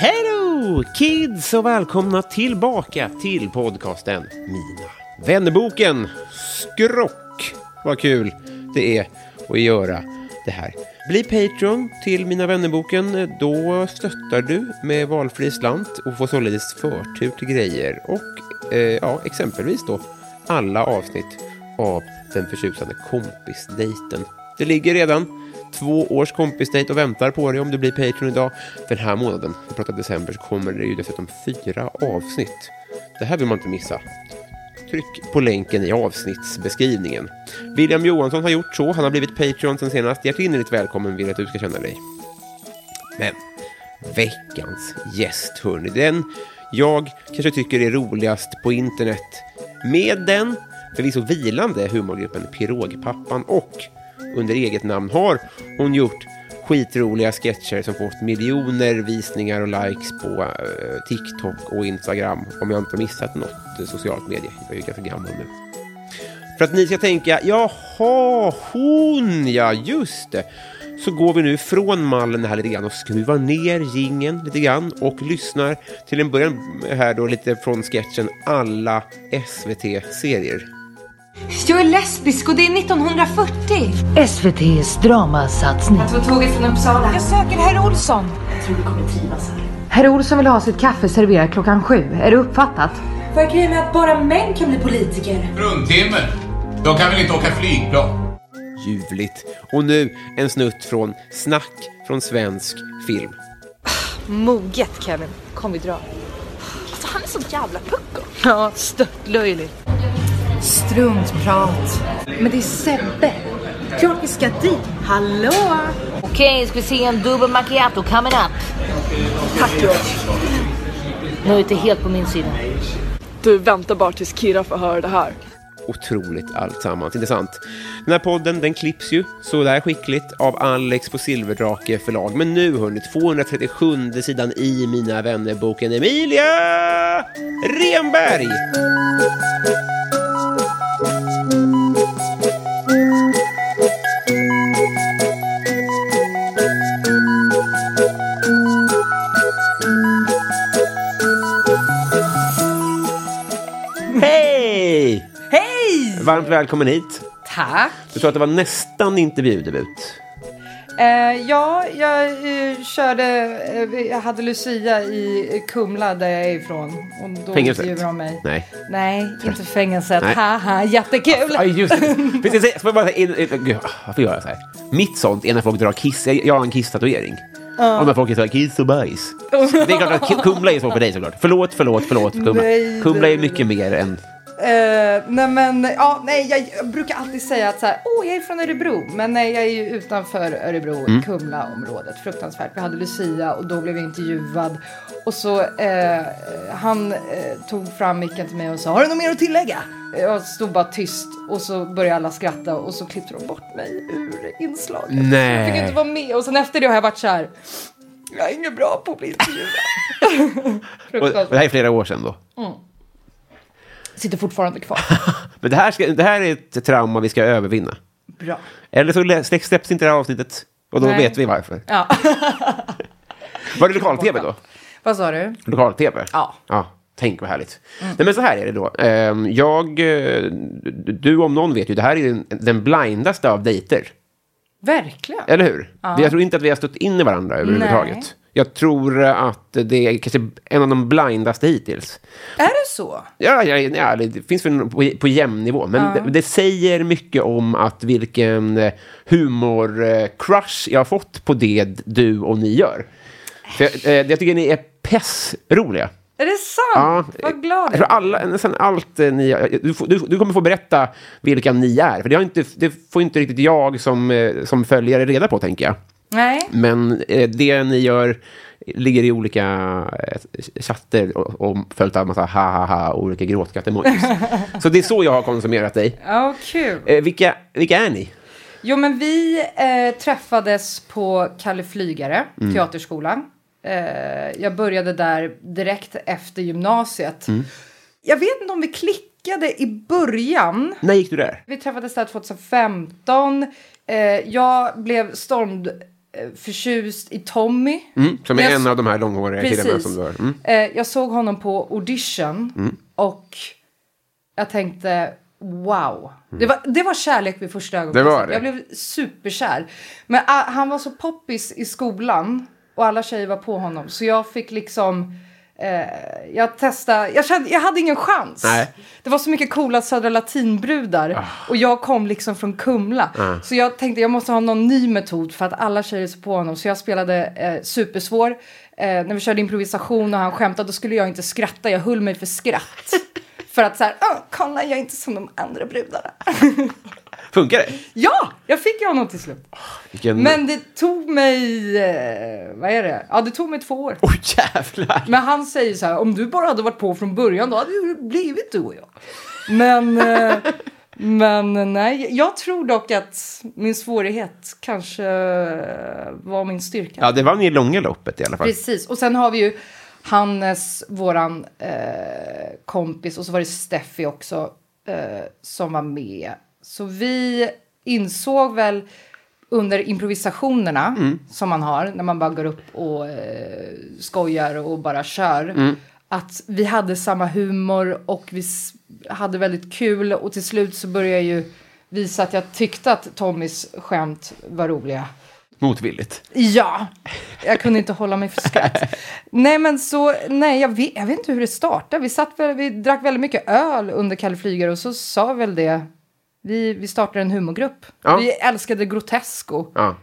Hej då kids och välkomna tillbaka till podcasten Mina vännerboken. Skrock vad kul det är att göra det här. Bli Patreon till Mina vännerboken. Då stöttar du med valfri slant och får således förtur till grejer och eh, ja, exempelvis då alla avsnitt av den förtjusande kompisdejten. Det ligger redan två års kompisdejt och väntar på dig om du blir Patreon idag. Den här månaden, vi pratar december, så kommer det ju dessutom fyra avsnitt. Det här vill man inte missa. Tryck på länken i avsnittsbeskrivningen. William Johansson har gjort så, han har blivit Patreon sen senast. Hjärtinnerligt välkommen vill jag att du ska känna dig. Men veckans gäst, hörni. Den jag kanske tycker är roligast på internet. Med den förvisso vilande humorgruppen Pirogpappan och under eget namn har hon gjort skitroliga sketcher som fått miljoner visningar och likes på eh, TikTok och Instagram. Om jag inte har missat något eh, socialt medie. Jag är ju ganska gammal nu. För att ni ska tänka, jaha, hon ja, just det. Så går vi nu från mallen här lite grann och skruvar ner gingen lite grann och lyssnar till en början här då lite från sketchen alla SVT-serier. Jag är lesbisk och det är 1940. SVTs dramasatsning. Så tåget från Uppsala. Jag söker herr Olsson. Herr Olsson vill ha sitt kaffe serverat klockan sju. Är det uppfattat? Vad är grejen med att bara män kan bli politiker? Fruntimmer? Jag kan väl inte åka flygplan? Ljuvligt. Och nu en snutt från Snack från svensk film. Moget Kevin, kom vi dra. Alltså han är så jävla pucko. Ja, störtlöjligt. Struntprat. Men det är Sebbe. Klart vi ska dit. Hallå! Okej, ska vi se en dubbel macchiato coming up. Tack George. Nu är inte helt på min sida. Du väntar bara tills Kira får höra det här. Otroligt alltsammans. Intressant. Den här podden den klipps ju så där skickligt av Alex på Silverdrake förlag. Men nu hörni, 237 sidan i Mina vännerboken Emilia Renberg! Hej! Hej! Varmt välkommen hit. Tack. Du sa att det var nästan intervjudebut. Eh, ja, jag eh, körde, eh, jag hade Lucia i Kumla där jag är ifrån. Och då Fängelset? intervjuade de mig. Nej. Nej, inte fängelset. Nej. Haha, jättekul. Ja, just det. Precis, jag får bara säga, in- in- gud, varför gör jag så här? Mitt sånt är när folk drar kiss. Jag, jag har en kisstatuering. Och när folk säger kiss och bajs. Det är klart att ki- Kumla är så för dig såklart. Förlåt, förlåt, förlåt för Kumla. Nej, Kumla är nej, mycket mer än... Eh, nej men, ja, nej, jag, jag brukar alltid säga att så här, åh, jag är från Örebro. Men nej, jag är ju utanför Örebro, Kumlaområdet. Fruktansvärt. Vi hade Lucia och då blev jag intervjuad. Och så eh, han eh, tog fram micken till mig och sa, har du något mer att tillägga? Jag stod bara tyst och så började alla skratta och så klippte de bort mig ur inslaget. Nej. Jag fick inte vara med. Och sen efter det har jag varit så här, jag är ingen bra på att bli intervjuad. Och, och det Fruktansvärt. här är flera år sedan då. Sitter fortfarande kvar. Men det här, ska, det här är ett trauma vi ska övervinna. Bra. Eller så lä- släpps inte det här avsnittet. Och då Nej. vet vi varför. Ja. Var det lokal-tv då? Vad sa du? Lokal-tv? Ja. ja. Tänk vad härligt. Nej, men så här är det då. Ehm, Jag, eh, du om någon vet ju, det här är den, den blindaste av dejter. Verkligen. Eller hur? Ja. Jag tror inte att vi har stött in i varandra överhuvudtaget. Nej. Jag tror att det är kanske en av de blindaste hittills. Är det så? Ja, ja, ja det finns väl på, på jämn nivå. Men Ja. det, det säger mycket om att vilken eh, humor-crush jag har fått på det du och ni gör. För jag, eh, jag tycker ni är pessroliga. Är det sant? Vad glad jag tror alla, nästan allt eh, ni... Du, får- du, du kommer få berätta vilka ni är. För det, har inte, det får inte riktigt jag som, eh, som följare reda på, tänker jag. Nej. Men eh, det ni gör ligger i olika eh, chatter och, och följt av massa ha-ha-ha och olika gråtskrattemojis. så det är så jag har konsumerat dig. Ja, kul. Eh, vilka, vilka är ni? Jo, men vi eh, träffades på Kalle Flygare, Mm. teaterskolan. Eh, jag började där direkt efter gymnasiet. Mm. Jag vet inte om vi klickade i början. När gick du där? Vi träffades där 2015. Eh, jag blev stormd eh, förtjust i Tommy. Mm, som är Jag- en av de här långhåriga killarna Precis. som du har. Mm. Eh, jag såg honom på audition Mm. och jag tänkte wow. Det, var, det var kärlek vid första ögonkastet. Det var det. Jag blev superkär. Men ah, han var så poppis i skolan och alla tjejer var på honom så jag fick liksom eh, jag testade, jag, kände, jag hade ingen chans. Nej. Det var så mycket coola Södra Latinbrudar och jag kom liksom från Kumla. Ah. Så jag tänkte jag måste ha någon ny metod för att alla tjejer såg på honom. Så jag spelade eh, supersvår. Eh, när vi körde improvisation och han skämtade då skulle jag inte skratta. Jag höll mig för skratt. för att så här, "Åh, kolla jag är inte som de andra brudarna. Funkar det? ja, jag fick ju honom till slut. Vilken... Men det tog mig, eh, vad är det? Ja, det tog mig två år. Oj jävlar! Men han säger så här, om du bara hade varit på från början då hade det blivit du och jag. Men, eh, men eh, nej, jag tror dock att min svårighet kanske eh, var min styrka. Ja, det vann i långa loppet i alla fall. Precis, och sen har vi ju Hannes, våran eh, kompis, och så var det Steffi också eh, som var med. Så vi insåg väl under improvisationerna Mm. som man har, när man bara går upp och eh, skojar och bara kör, Mm. att vi hade samma humor och vi s- hade väldigt kul och till slut så började jag ju visa att jag tyckte att Tommys skämt var roliga. Motvilligt. Ja, jag kunde inte hålla mig för skratt. Nej, men så, nej, jag vet, jag vet inte hur det startade. Vi, satt väl, vi drack väldigt mycket öl under Kalle Flygare och så sa väl det, vi, vi startade en humorgrupp. Ja. Vi älskade Grotesco. Ja.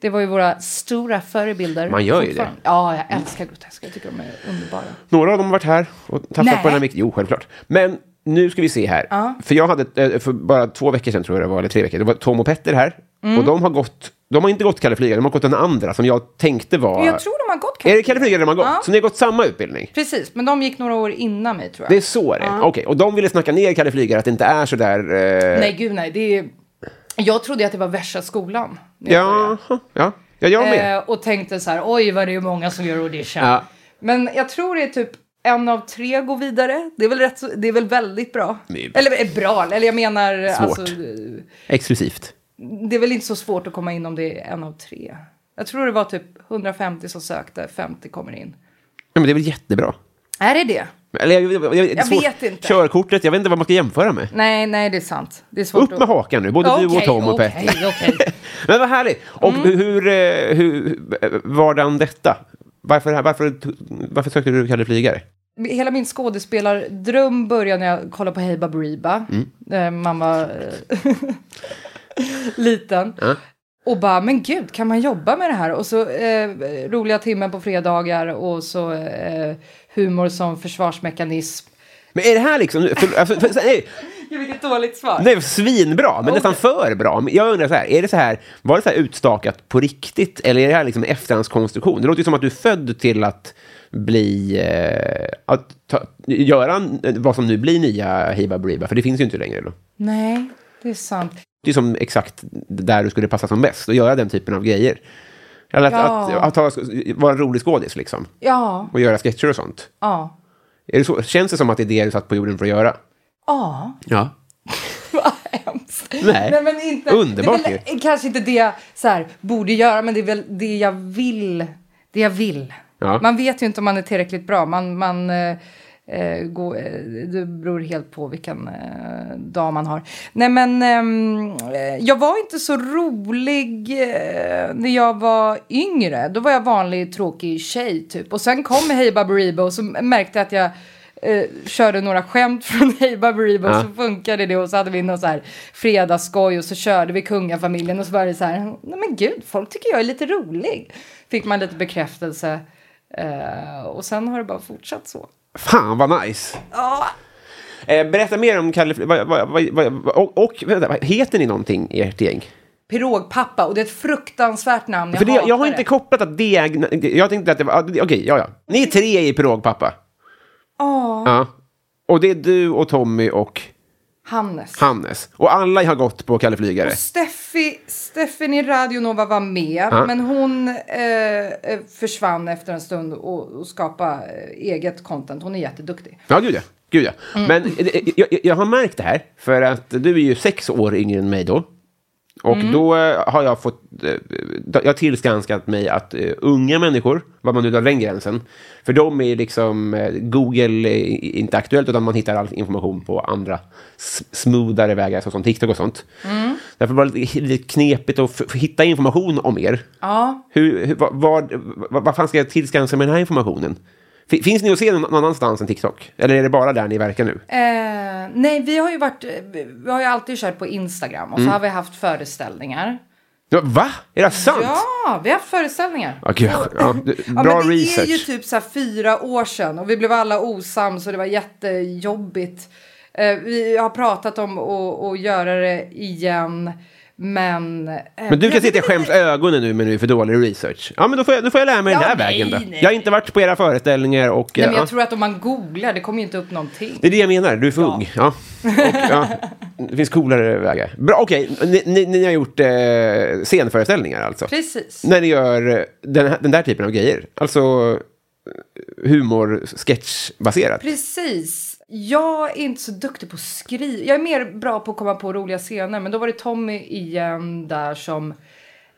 Det var ju våra stora förebilder. Man gör ju fortfarande. Ja, jag älskar Grotesco. Jag tycker de är underbara. Några av dem har varit här och tafsat Nej. på den här micken. Jo, självklart. Men nu ska vi se här. Ja. För jag hade, eh, för bara två veckor sedan tror jag det var, eller tre veckor, det var Tom och Petter här. Mm. Och de har gått, de har inte gått Kalle Flygare, de har gått den andra som jag tänkte var... Jag tror de har gått Är det Kalle Flygare de har gått? Ja. Så ni har gått samma utbildning? Precis, men de gick några år innan mig tror jag. Det är så det är. Ja. Okej, och de ville snacka ner Kalle Flygare, att det inte är så där... Eh... Nej, gud nej. Det är, jag trodde att det var värsta skolan. Ja, ja. ja, jag med. Eh, och tänkte så här, oj vad det är många som gör audition. Ja. Men jag tror det är typ en av tre går vidare. Det är väl, rätt, så- det är väl väldigt bra. Eller är bra, eller jag menar... Svårt. Alltså, Exklusivt. det är väl inte så svårt att komma in om det är en av tre. Jag tror det var typ 150 som sökte, 50 kommer in. Ja, men det är väl jättebra? Är det det? Eller, jag, jag, jag, det är Jag svårt. vet inte. Körkortet, jag vet inte vad man ska jämföra med. Nej, nej, det är sant. Det är svårt Upp med att... hakan nu, både du och Okej, Tom och okej, Petter. okej. Men vad härligt! Och hur, eh, hur eh, vardagen detta? Varför, varför, varför sökte du Kalle Flygare? Hela min skådespelardröm började när jag kollade på Hey Baberiba. Mm. När man var eh, liten. Ja. Och bara, men gud, kan man jobba med det här? Och så eh, roliga timmen på fredagar och så eh, humor som försvarsmekanism. Men är det här liksom... För, alltså, för, nej, Ja, vilket dåligt svar. nej, svinbra, men nästan för bra. Men Jag undrar så här, är det så här, var det så här utstakat på riktigt? Eller är det här liksom efterhandskonstruktion? Det låter ju som att du är född till att bli... Eh, att ta, göra en- vad som nu blir nya Hiba Briba, för det finns ju inte längre då. Nej, det är sant. Det är som exakt där du skulle passa som bäst och göra den typen av grejer. Eller att, Ja. att, att, ha- vara en rolig skådis liksom. Ja, Och göra sketcher och sånt. ja, Är det så, känns det som att det är det du satt på jorden för att göra? ja. Ja. Nej. Nej. men inte. Underbart det är väl, Kanske inte det jag så här, borde göra, men det är väl det jag vill. Det jag vill. Ja. Man vet ju inte om man är tillräckligt bra. Man, man eh, eh, gå, eh, det beror helt på vilken eh, dag man har. Nej men, ehm, eh, jag var inte så rolig eh, när jag var yngre. Då var jag vanlig tråkig tjej typ. Och sen kom Hey Baberibo och så märkte jag att jag eh, körde några skämt från Hey Baberibo Ja. så funkade det och så hade vi någon så här fredagsskoj och så körde vi kungafamiljen och så var det så här, nej men gud, folk tycker jag är lite rolig. Fick man lite bekräftelse eh, och sen har det bara fortsatt så. Fan vad nice! Eh, berätta mer om Kalle... Fl- Vad, vad, vad, vad, och, och vänta, vad- heter ni någonting i ert gäng? Pirogpappa och det är ett fruktansvärt namn, jag För det, jag har hatar inte det. kopplat att det är... Jag tänkte att det var... ah, det- Okej, ja, ja. Ni är tre i pirogpappa. Ja, Ja. Och det är du och Tommy och Hannes. Hannes. Och alla har gått på Kalle Flygare. Och Steffi, Stephanie Radionova var med, Ja. men hon eh, eh, försvann efter en stund och, och skapade eh, eget content. Hon är jätteduktig. Ja, gud ja. Gud ja. Mm. Men eh, jag, jag, jag har märkt det här, för att du är ju sex år yngre än mig då. Och Mm. då eh, har jag fått, eh, jag har tillskanskat mig att eh, unga människor, vad man nu drar den gränsen, för de är liksom, eh, Google är inte aktuellt utan man hittar all information på andra s- smoothare vägar såsom TikTok och sånt. Mm. Därför var det lite- lite knepigt att f- hitta information om er. Ja. Hur, hur, vad, vad, vad, vad fan ska jag tillskansa mig den här informationen? Fi- Finns ni att se någon någon annanstans än TikTok? Eller är det bara där ni verkar nu? Eh, nej, vi har ju varit, eh, vi har ju alltid kört på Instagram och så Mm. har vi haft föreställningar. Ja, Va? Är det sant? Ja, vi har haft föreställningar. Ja, gud, ja, du- Ja, bra men det research. är ju typ så här fyra år sedan och vi blev alla osams och det var jättejobbigt. Eh, vi har pratat om att att göra det igen, men... eh, Men du jag kan se att jag skäms ögonen nu, men nu är för dålig research. Ja, men då får jag, då får jag lära mig Ja, den här nej, vägen då. nej. Jag har inte varit på era föreställningar och... Nej, eh, men jag ja. tror att om man googlar, det kommer ju inte upp någonting. Det är det jag menar, du är för ung. Ja. Och, ja. Det finns coolare vägar. Bra, okej. Ni, ni, ni har gjort eh, scenföreställningar alltså? Precis. När ni gör eh, den, här, den där typen av grejer? Alltså eh, humor, sketchbaserat? Precis. Jag är inte så duktig på att skriva. Jag är mer bra på att komma på roliga scener. Men då var det Tommy igen där som...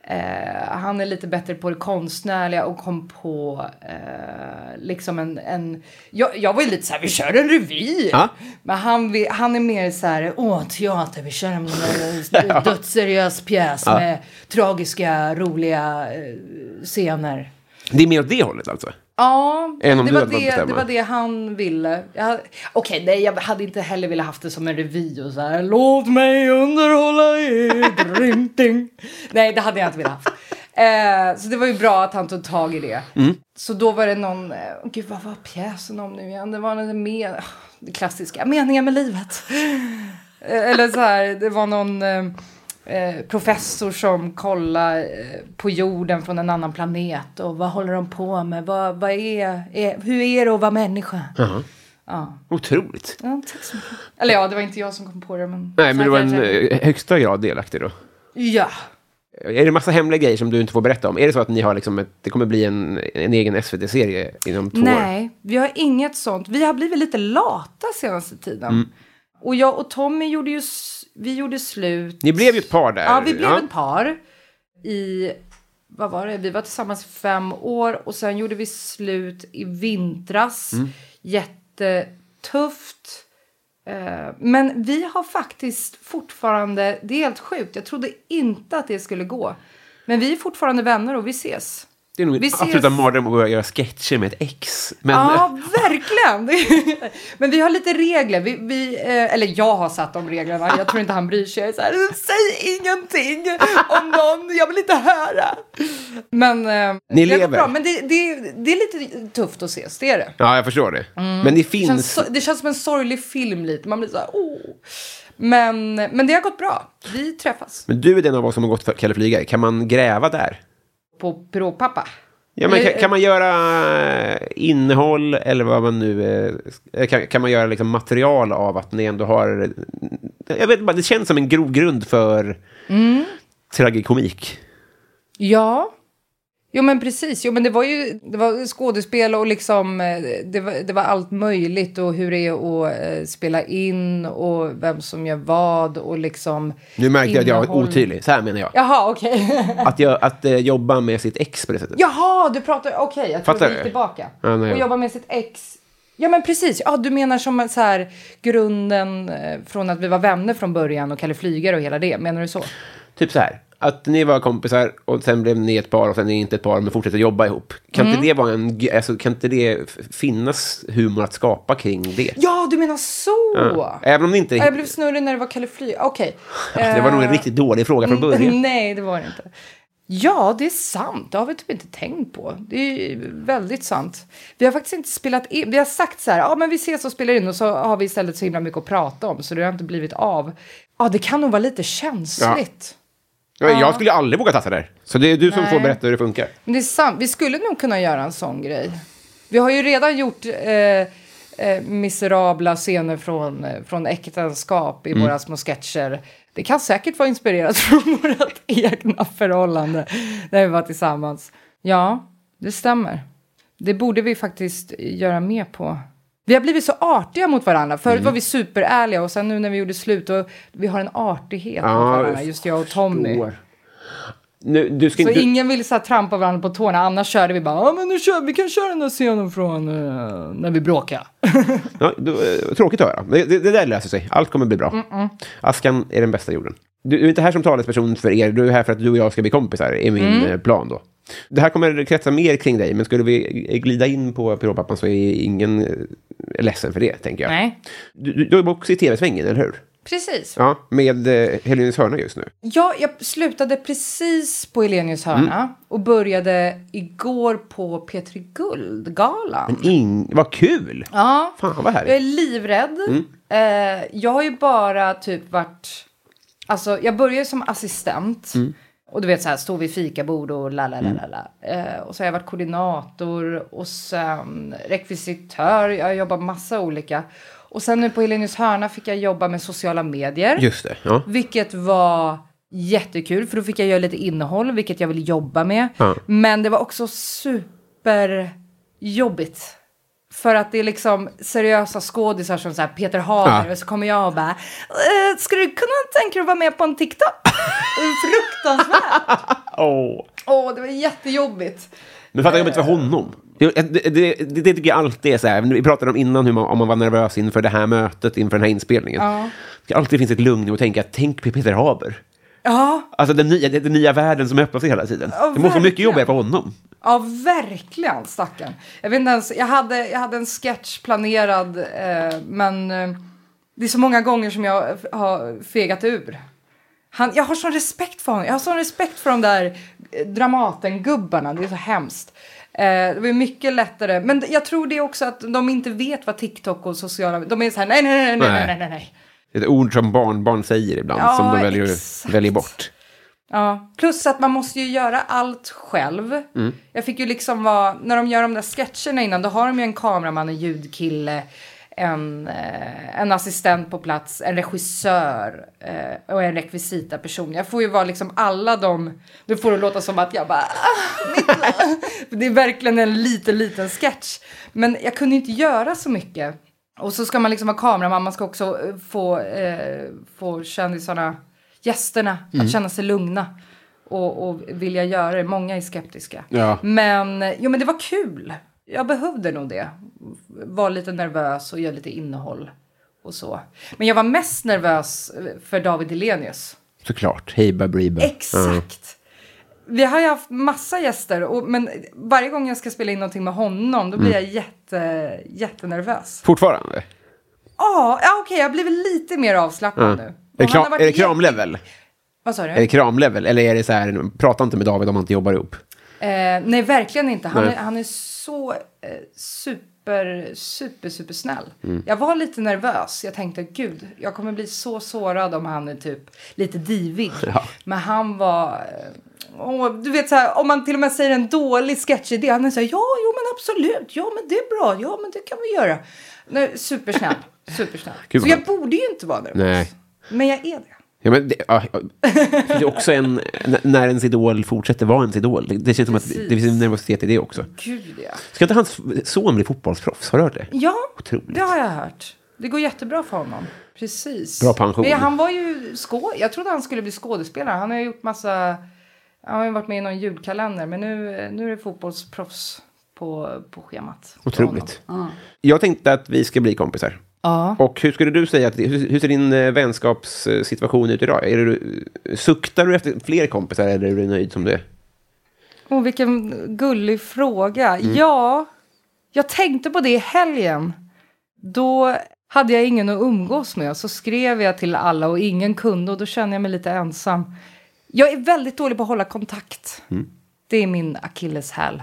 Eh, han är lite bättre på det konstnärliga och kom på eh, liksom en... en jag, jag var ju lite så här, vi kör en revy! Ja. Men han, vi- han är mer så här, åh teater, vi kör en eh, dödsseriös pjäs Ja. med tragiska, roliga eh, scener. Det är mer åt det hållet alltså? Ja, det Än om du var hade fått det, bestämma. det var det han ville. Jag hade- Okej, nej, jag hade inte heller velat haft det som en revy och så här. Låt mig underhålla er. dring, ding. nej, det hade jag inte velat haft. Eh, så det var ju bra att han tog tag i det. Mm. Så då var det någon, eh, gud vad var pjäsen om nu igen? Det var den med, det klassiska, meningen med livet. Eh, Eller så här, det var någon eh, eh, professor som kollade eh, på jorden från en annan planet och vad håller de på med? Vad, vad är, är, hur är det att vara människa? Jaha. Ja. Otroligt. ja, tack så mycket. Eller ja, det var inte jag som kom på det, men... Nej, men du var en Kanske. eh, högsta grad delaktig då? Eh, Ja. Är det massa hemliga grejer som du inte får berätta om? Är det så att ni har liksom ett, det kommer bli en, en egen SVT-serie inom två år? Nej, vi har inget sånt. Vi har blivit lite lata senaste tiden. Mm. Och jag och Tommy gjorde ju... s- Vi gjorde slut... Ni blev ju ett par där. Ja, vi blev ett par i, vad var det, vi var tillsammans i fem år och sen gjorde vi slut i vintras. Mm. Jättetufft. Eh, Men vi har faktiskt fortfarande, det är helt sjukt, jag trodde inte att det skulle gå. Men vi är fortfarande vänner och vi ses. Det är nog Vi min ses. absoluta mardröm att gå och göra sketcher med ett ex. Men, eh, Ja, verkligen. Men vi har lite regler. Vi, vi, eh, eller jag har satt de reglerna. Jag tror inte han bryr sig. Jag är Så här, Säg ingenting om någon. Jag vill inte höra. Men, eh, Ni det har gått lever. Bra. Men det, det, det är lite tufft att ses. Det är det. ja, jag förstår det. Mm. Men det Det känns, finns... so- det känns som en sorglig film lite. Man blir så här, åh. Men, men det har gått bra. Vi träffas Men du är den av oss som har gått för Kalle Flygare. Kan man gräva där? på Piråpappa. Ja, men Eller- kan, kan man göra eh, innehåll eller vad man nu... eh, Kan, kan man göra liksom material av att ni ändå har... eh, Jag vet bara, det känns som en grogrund för Mm. tragikomik. Ja. Jo men precis, jo men det var ju det var skådespel och liksom eh, det var, det var allt möjligt och hur det är att eh, spela in och vem som gör vad och liksom Nu märkte jag att jag var innehåll. otydlig. Så här menar jag. Jaha okej. Att, jag, att eh, jobba med sitt ex på det sättet. Jaha du pratar, okej jag tror Fattar du gick du? tillbaka. Ja, nej. och jobba med sitt ex. Ja men precis, ja, du menar som så här, grunden eh, från att vi var vänner från början och Kalle Flygare och hela det, menar du så? Typ så här, att ni var kompisar och sen blev ni ett par och sen är ni inte ett par men fortsätter jobba ihop. Kan Mm. inte det vara en... g- Alltså, kan inte det f- finnas humor att skapa kring det? Ja, du menar så! Ja. Även om det inte... Ja, Jag blev snurrig när det var Kalle Fly. Okej. Eh, Det var nog en riktigt dålig fråga Mm. från början. Nej, det var det inte. Ja, det är sant. Det har vi typ inte tänkt på. Det är väldigt sant. Vi har faktiskt inte spelat in. Vi har sagt så här, ja men vi ses och spelar in och så har vi istället så himla mycket att prata om så det har inte blivit av. Ja, det kan nog vara lite känsligt. Ja, Jag skulle aldrig våga tassa där. Så det är du som Nej. får berätta hur det funkar. Men det är sant. Vi skulle nog kunna göra en sån grej. Vi har ju redan gjort eh, eh, miserabla scener från, eh, från äktenskap i Mm. våra små sketcher. Det kan säkert vara inspirerat från vårt egna förhållande när vi var tillsammans. Ja, det stämmer. Det borde vi faktiskt göra mer på. Vi har blivit så artiga mot varandra. Förut Mm. var vi superärliga och sen nu när vi gjorde slut och vi har en artighet Ja, mot varandra, just jag och Tommy. förstår. Nu, du ska Så inte... ingen ville så här trampa varandra på tårna, annars körde vi bara ja men nu kör vi, vi kan köra den där scenen från eh, när vi bråkade. Ja, då, eh, tråkigt att höra. Det, det, det där löser sig. Allt kommer bli bra. Mm-mm. Askan är den bästa jorden. Du, du är inte här som talesperson för er, du är här för att du och jag ska bli kompisar, är min Mm. eh, plan då. Det här kommer kretsa mer kring dig, men skulle vi eh, glida in på pyropappan så är ingen eh, ledsen för det, tänker jag. Nej. Du, du, du är också i tv-svängen, eller hur? Precis. Ja, med eh, Helenius hörna just nu. Ja, jag slutade precis på Elenius hörna Mm. och började igår på Petri Guld-galan. Men ing... Vad kul! Ja, Fan, vad härligt. jag är livrädd. Mm. Eh, jag har ju bara typ varit... Alltså, jag började som assistent. Mm. Och du vet så här, stå vid fikabord och la la la Mm. la la. Eh, Och så har jag varit koordinator och sen rekvisitör. Jag har jobbat massa olika. Och sen nu på Helenius hörna fick jag jobba med sociala medier. Just det, ja. Vilket var jättekul för då fick jag göra lite innehåll vilket jag vill jobba med. Ja. Men det var också superjobbigt. För att det är liksom seriösa skådisar som så här Peter Haber Ja. och så kommer jag och bara "Eh, Skulle du kunna tänka dig att vara med på en TikTok? Det är Fruktansvärt! Åh. Åh, det var jättejobbigt. Men fatta jobbigt för honom. Det, eh, det, det, det tycker jag alltid är så här. Vi pratade om innan hur man, om man var nervös inför det här mötet, inför den här inspelningen. Ja. Det ska alltid finns ett lugn i att tänka, tänk på Peter Haber. Ja, Alltså den nya, den nya världen som öppnar sig hela tiden. Ja, det måste vara mycket verkligen. jobbigare för honom. ja verkligen stackarn. Jag vet inte ens, jag hade, jag hade en sketch planerad eh, men eh, det är så många gånger som jag f- har fegat ur. Han, jag har sån respekt för honom. Jag har sån respekt för de där eh, Dramaten-gubbarna. Det är så hemskt. Eh, det var ju mycket lättare. Men d- jag tror det är också att de inte vet vad TikTok och sociala... De är så här, nej, nej, nej, nej, Nej. nej, nej, nej. Ett ord som barnbarn säger ibland, Ja, som de väljer, exakt. väljer bort. Ja. Plus att man måste ju göra allt själv. Mm. Jag fick ju liksom vara, när de gör de där sketcherna innan, då har de ju en kameraman, en ljudkille, en, eh, en assistent på plats, en regissör eh, och en rekvisitaperson. Jag får ju vara liksom alla de, nu får det låta som att jag bara, ah, mitt liv." det är verkligen en liten, liten sketch. Men jag kunde ju inte göra så mycket. Och så ska man liksom ha kameraman, man ska också eh, få, eh, få kändisarna, gästerna, Mm. att känna sig lugna och, och vilja göra det. Många är skeptiska. Ja. Men, jo, men det var kul. Jag behövde nog det. Var lite nervös och göra lite innehåll och så. Men jag var mest nervös för David Hellenius. Såklart. Hej Babriba. Exakt. Vi har ju haft massa gäster, och, men varje gång jag ska spela in någonting med honom då blir Mm. jag jätte, jättenervös. Fortfarande? Ja, ja, okej, jag har blivit lite mer avslappnad Ja. nu. Är Och det, han har kram, är varit det jätte- kramlevel? Vad sa du? Är det kramlevel? Eller är det så här, prata inte med David om han inte jobbar ihop? Eh, nej, verkligen inte. Han, Nej. är, han är så eh, super, super, super snäll. Mm. Jag var lite nervös. Jag tänkte, gud, jag kommer bli så sårad om han är typ lite divig. Ja. Men han var... eh, åh, du vet så här, om man till och med säger en dålig sketchidé. Han är så här, ja, jo men absolut. Ja, men det är bra. Ja, men det kan vi göra. Nej, supersnäll. Supersnäll. Kul så vad jag borde ju inte vara nervös. Nej. Men jag är det. Ja, men det, ja, ja. det är också en, n- när ens idol fortsätter vara ens idol. Det, det känns som att det Precis. det finns en nervositet i det också. Gud ja. Ska inte hans son bli fotbollsproffs? Har du hört det? Ja, Otroligt. det har jag hört. Det går jättebra för honom. Precis. Bra pension. Men han var ju skå... Jag trodde han skulle bli skådespelare. Han har ju gjort massa... Han har ju varit med i någon julkalender. Men nu, nu är det fotbollsproffs på på, på schemat. Otroligt. Ja. Jag tänkte att vi ska bli kompisar. Ja. Och hur skulle du säga att, hur, hur ser din eh, vänskapssituation ut idag? Är du, suktar du efter fler kompisar eller är du nöjd som du är? Åh, vilken gullig fråga. Ja, jag tänkte på det i helgen. Då hade jag ingen att umgås med. Så skrev jag till alla och ingen kunde och då kände jag mig lite ensam. Jag är väldigt dålig på att hålla kontakt. Det är min akilleshäl.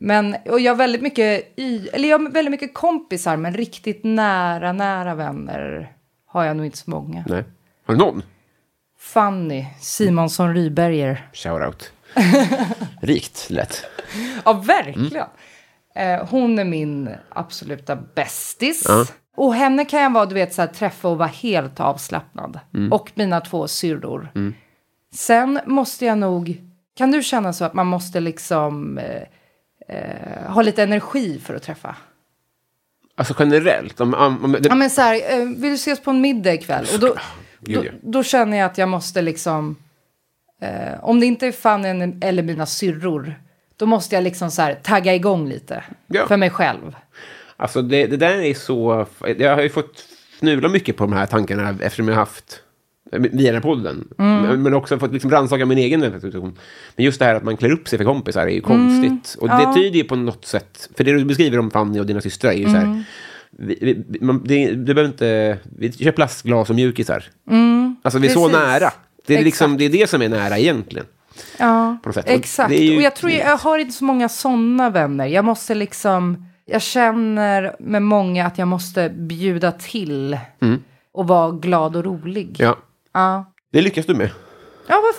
Men, och jag har väldigt mycket, y, eller jag har väldigt mycket kompisar, men riktigt nära, nära vänner har jag nog inte så många. Nej. Har du någon? Fanny Simonsson Ryberger. Shoutout. Rikt lätt. Ja, verkligen. Eh, hon är min absoluta bästis. Ja. Och henne kan jag vara, du vet, så här, träffa och vara helt avslappnad. Mm. Och mina två syrror. Mm. Sen måste jag nog... Kan du känna så att man måste liksom eh, eh, ha lite energi för att träffa? Alltså generellt? Om, om, om, det, Ja, men så här, eh, vill du ses på en middag ikväll? Och då, Gud, då, ja. då känner jag att jag måste liksom... Eh, om det inte är Fanny eller mina syrror, då måste jag liksom så här tagga igång lite. Ja. För mig själv. Alltså det, det där är så... Jag har ju fått fnula mycket på de här tankarna eftersom jag har haft... eh, Via den här podden. Mm. Men, men också fått liksom rannsaka min egen reflektion. Men just det här att man klär upp sig för kompisar är ju konstigt. Och Mm. Ja. det tyder ju på något sätt... För det du beskriver om Fanny och dina systrar är ju så Mm. här... Vi, vi, man, det, du behöver inte... Vi kör plastglas och mjukisar. Mm, Alltså vi är så precis. nära. Det är, Exakt. liksom, det är det som är nära egentligen. Ja, på något sätt. Och exakt. det är ju- Och jag tror jag, jag har inte så många sådana vänner. Jag måste liksom... Jag känner med många att jag måste bjuda till Mm. och vara glad och rolig. Ja. Ja, Det lyckas du med. ja vad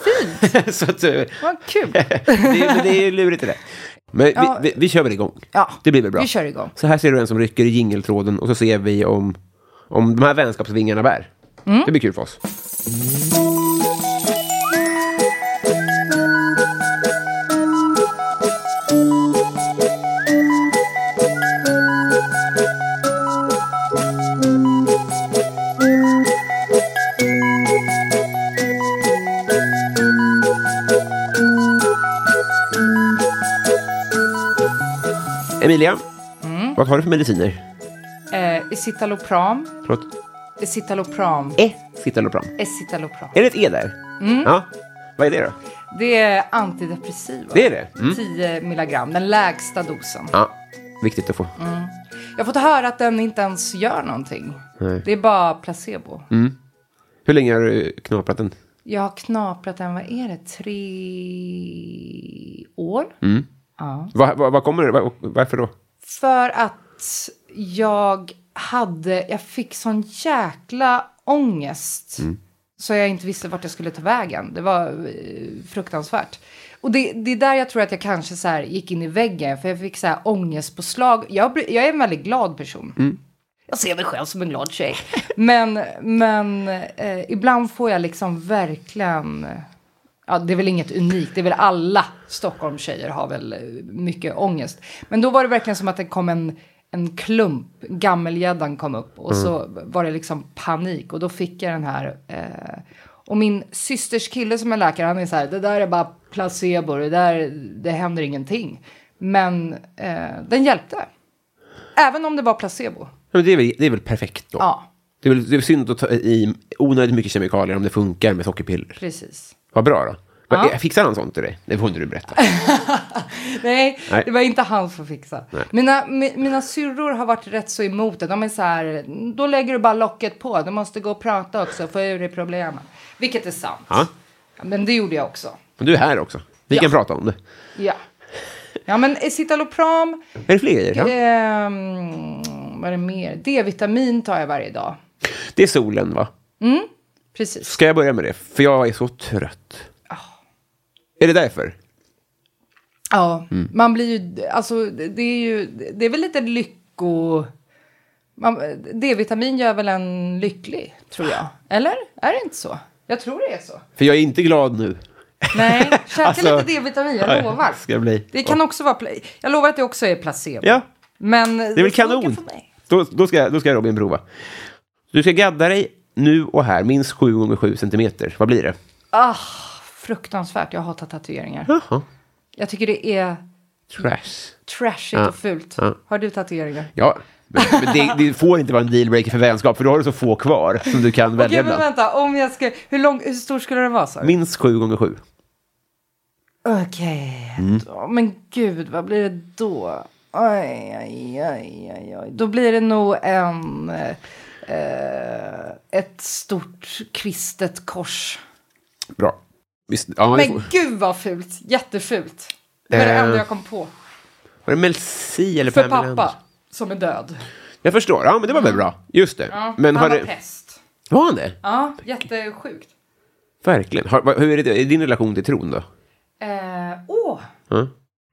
fint. så att, eh, Vad kul. det, är- det är lurigt det där. Men Ja. vi, vi, vi kör väl igång. Ja, Det blir väl bra. vi kör igång. Så här ser du en som rycker i jingeltråden och så ser vi om, om de här vänskapsvingarna bär. Mm. Det blir kul för oss. Emilia, Mm. vad har du för mediciner? Eh, Escitalopram. Förlåt? Escitalopram. E Citalopram. Escitalopram. Är det ett E där? Mm. Ja. Vad är det då? Det är antidepressiva. Det är det? Mm. 10 milligram, den lägsta dosen. Ja, viktigt att få. Mm. Jag har fått höra att den inte ens gör någonting. Nej. Det är bara placebo. Mm. Hur länge har du knaprat den? Jag har knaprat den, vad är det, tre år? Mm. Ja. Vad vad- vad kommer det? Vad- Varför då? För att jag hade, jag fick sån jäkla ångest. Mm. Så jag inte visste vart jag skulle ta vägen. Det var eh, fruktansvärt. Och det, det är där jag tror att jag kanske så här gick in i väggen. För jag fick så här ångestpåslag. Jag, bry- jag är en väldigt glad person. Mm. Jag ser mig själv som en glad tjej. men men eh, ibland får jag liksom verkligen... Ja, det är väl inget unikt. Det är väl alla Stockholmstjejer har väl eh, mycket ångest. Men då var det verkligen som att det kom en, en klump. Gammelgäddan kom upp. Och Mm. så var det liksom panik. Och då fick jag den här... Eh, och min systers kille som är läkare, han är så här, det där är bara placebo, det där, det händer ingenting. Men eh, den hjälpte. Även om det var placebo. Ja, men det, är väl, det är väl perfekt då? Ja, Det är, väl, det är synd att ta i onödigt mycket kemikalier om det funkar med sockerpiller. precis. Vad bra då. Ja. Ja. Fixar han sånt till dig? Det får inte du berätta. Nej, Nej. det var inte han som fixade. Nej. Mina, mi, mina syrror har varit rätt så emot det. De är så här, då lägger du bara locket på. Du måste gå och prata också och få ur dig problemen. Vilket är sant. Ja. Men det gjorde jag också. Men du är här också. Vi kan prata om det. Ja. Ja, men escitalopram. Är det fler grejer? Ja. Ehm, vad är det mer? D-vitamin tar jag varje dag. Det är solen, va? Mm, precis. Ska jag börja med det? För jag är så trött. Ah. Är det därför? Ja, Mm. man blir ju, alltså det det är ju, det är väl lite lycko... man- D-vitamin gör väl en lycklig, tror jag. Eller? Är det inte så? Jag tror det är så. För jag är inte glad nu. Nej, käka Alltså, lite D-vitamin, jag nej, lovar. ska jag bli. Det kan också vara, pla- jag lovar att det också är placebo. Ja, Men det är väl kanon. Då, då, ska, då ska Robin prova. Du ska gadda dig nu och här minst 7 gånger 7 centimeter. Vad blir det? Ah, fruktansvärt, jag hatar tatueringar. Jaha. Jag tycker det är Trash. Trashigt Ja. och fult. Ja. Har du tatueringar? Ja, men, men det, det får inte vara en dealbreaker för vänskap, för då har du så få kvar som du kan välja Okej, men bland. vänta. Om jag ska, hur, lång, hur stor skulle den vara? sa du? Minst sju gånger sju. Okej. Mm. Ja, Men gud, vad blir det då? Aj, aj, aj, aj, aj. Då blir det nog en... Eh, ett stort kristet kors. Bra. Visst, ja, det Men får- gud vad fult. Jättefult. Det var det Eh, enda jag kom på. Var det Mel C eller För Pamela pappa, Anderson? som är död. Jag förstår. Ja, men det var väl bra. Just det. Ja, men har han det... var pest. Var han det? Ja, jättesjukt. Verkligen. Har, vad- hur är det i din relation till tron då? Eh, åh, Ja.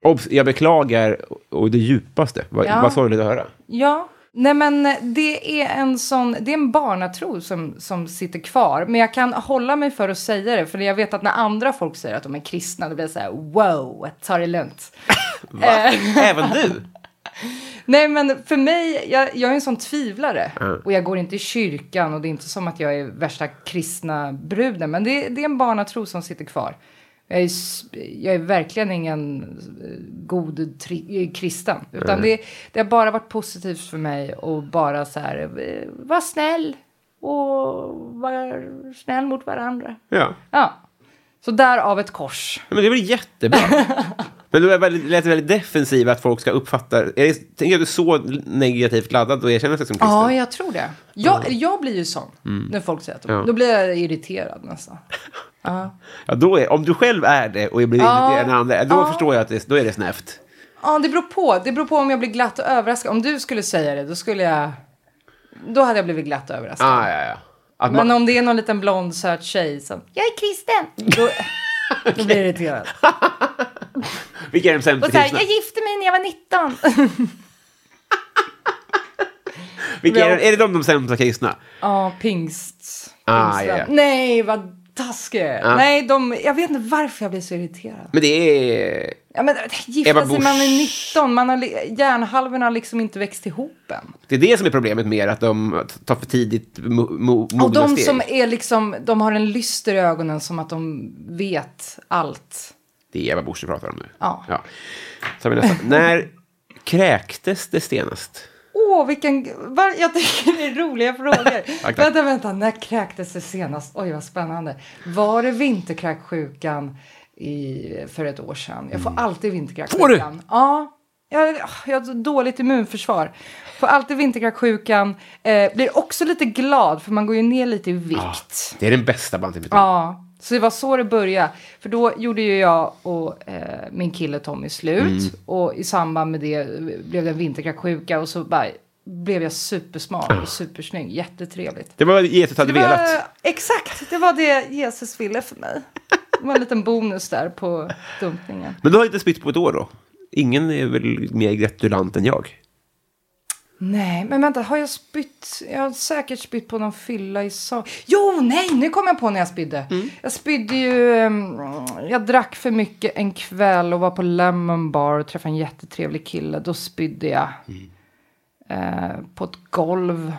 Obs, jag beklagar och det djupaste. Vad, Ja. vad sorgligt att höra. Ja. Nej, men det är en sån, det är en barnatro som, som sitter kvar. Men jag kan hålla mig för att säga det, för jag vet att när andra folk säger att de är kristna, då blir jag så här, wow, ta det lugnt. Även du? Nej, men för mig, jag, jag är en sån tvivlare. Mm. Och jag går inte i kyrkan och det är inte som att jag är värsta kristna bruden. Men det, det är en barnatro som sitter kvar. Jag är, s- jag är verkligen ingen eh, god tri, eh, kristen. Utan Mm. det, det har bara varit positivt för mig och bara så här, eh, var snäll och var snäll mot varandra. Ja. Ja, så därav ett kors. Men det var jättebra. Men du är väldigt, lät väldigt defensiv att folk ska uppfatta... Är det, tänker du så negativt laddad och erkänner sig som kristen? Ja, jag tror det. Jag, jag blir ju sån Mm. när folk säger att de, Ja. Då blir jag irriterad nästan. Ja. Ja, då är, om du själv är det och blir Ja. irriterad när andra är då Ja. förstår jag att det, då är det snävt. Ja, det beror på. Det beror på om jag blir glatt och överraskad. Om du skulle säga det, då skulle jag... Då hade jag blivit glatt och överraskad. Ah, ja, ja. Att Men man, om det är någon liten blond söt tjej som... Jag är kristen! Då, då blir jag irriterad. Vilka är de sämsta Och så här, kristna? jag gifte mig när jag var 19. Vilka är, är det de, de sämsta kristna? Ja, pingst. Ah, pingstvän. ja, Ah. ja. Nej, vad taskig jag är. Ja. Nej, de, jag vet inte varför jag blir så irriterad. Men det är... Ja, men, äh, gifta Ebba sig Busch. när man är 19, man har, li- hjärnhalvorna har liksom inte växt ihop än. Det är det som är problemet mer, att de tar för tidigt mo, mo, Och mogna de steg. som är liksom, de har en lyster i ögonen som att de vet allt. Det är Eva Busch vi pratar om nu. Ja. ja. Så har vi nästa. När kräktes det senast? Åh, vilken... Var, jag tycker det är roliga frågor. tack. Vänta, vänta. När kräktes det senast? Oj, vad spännande. Var det vinterkräksjukan i, för ett år sedan? Jag får alltid vinterkräksjukan. Mm. Får du? Ja. Jag, jag har så dåligt immunförsvar. Får alltid vinterkräksjukan. Eh, blir också lite glad, för man går ju ner lite i vikt. Det är den bästa bandterapeuten. Ja, så det var så det började. För då gjorde ju jag och eh, min kille Tommy slut. Mm. Och i samband med det blev det en vinterkräksjuka och så bara blev jag supersmal Ah. och supersnygg. Jättetrevligt. Det var vad Jesus hade Det var- velat. Exakt, det var det Jesus ville för mig. Det var en liten bonus där på dumpningen. Men du har inte spytt på ett år då? Ingen är väl mer gratulant än jag? Nej, men vänta, har jag spytt? Jag har säkert spytt på någon fylla i sak. Jo, nej, nu kom jag på när jag spydde. Jag spydde ju, ehm, jag drack för mycket en kväll och var på Lemon Bar och träffade en jättetrevlig kille. Då spydde jag eh, på ett golv.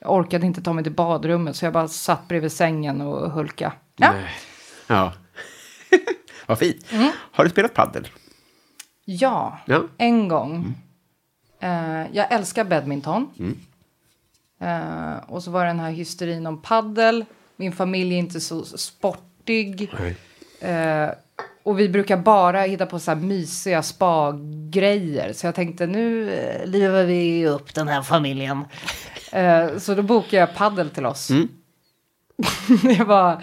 Jag orkade inte ta mig till badrummet så jag bara satt bredvid sängen och hulka. Ja. Nej. Ja. Vad fint. Mm. Har du spelat paddel? Ja, Ja. en gång. Eh, jag älskar badminton. Mm. Eh, och så var det den här hysterin om paddel. Min familj är inte så sportig. Eh, och vi brukar bara hitta på så här mysiga spa-grejer. Så jag tänkte nu eh, lever vi upp den här familjen. Eh, så då bokade jag paddel till oss. Mm. det var...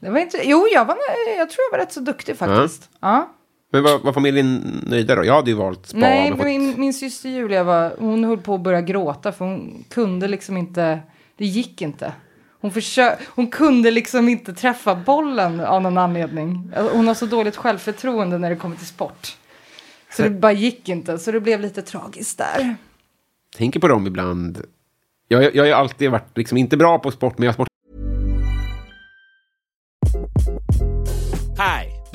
Det var inte, jo, jag, var, jag tror jag var rätt så duktig faktiskt. Ja. Men var, var familjen nöjda då? Jag hade ju valt spa. Nej, men fått- min, min syster Julia var, hon höll på att börja gråta för hon kunde liksom inte, det gick inte. Hon, försö- hon kunde liksom inte träffa bollen av någon anledning. Alltså, Hon har så dåligt självförtroende när det kommer till sport. Så det bara gick inte, så det blev lite tragiskt där. Tänker på dem ibland. Jag, jag, jag har ju alltid varit liksom inte bra på sport, men jag har sport. Hi,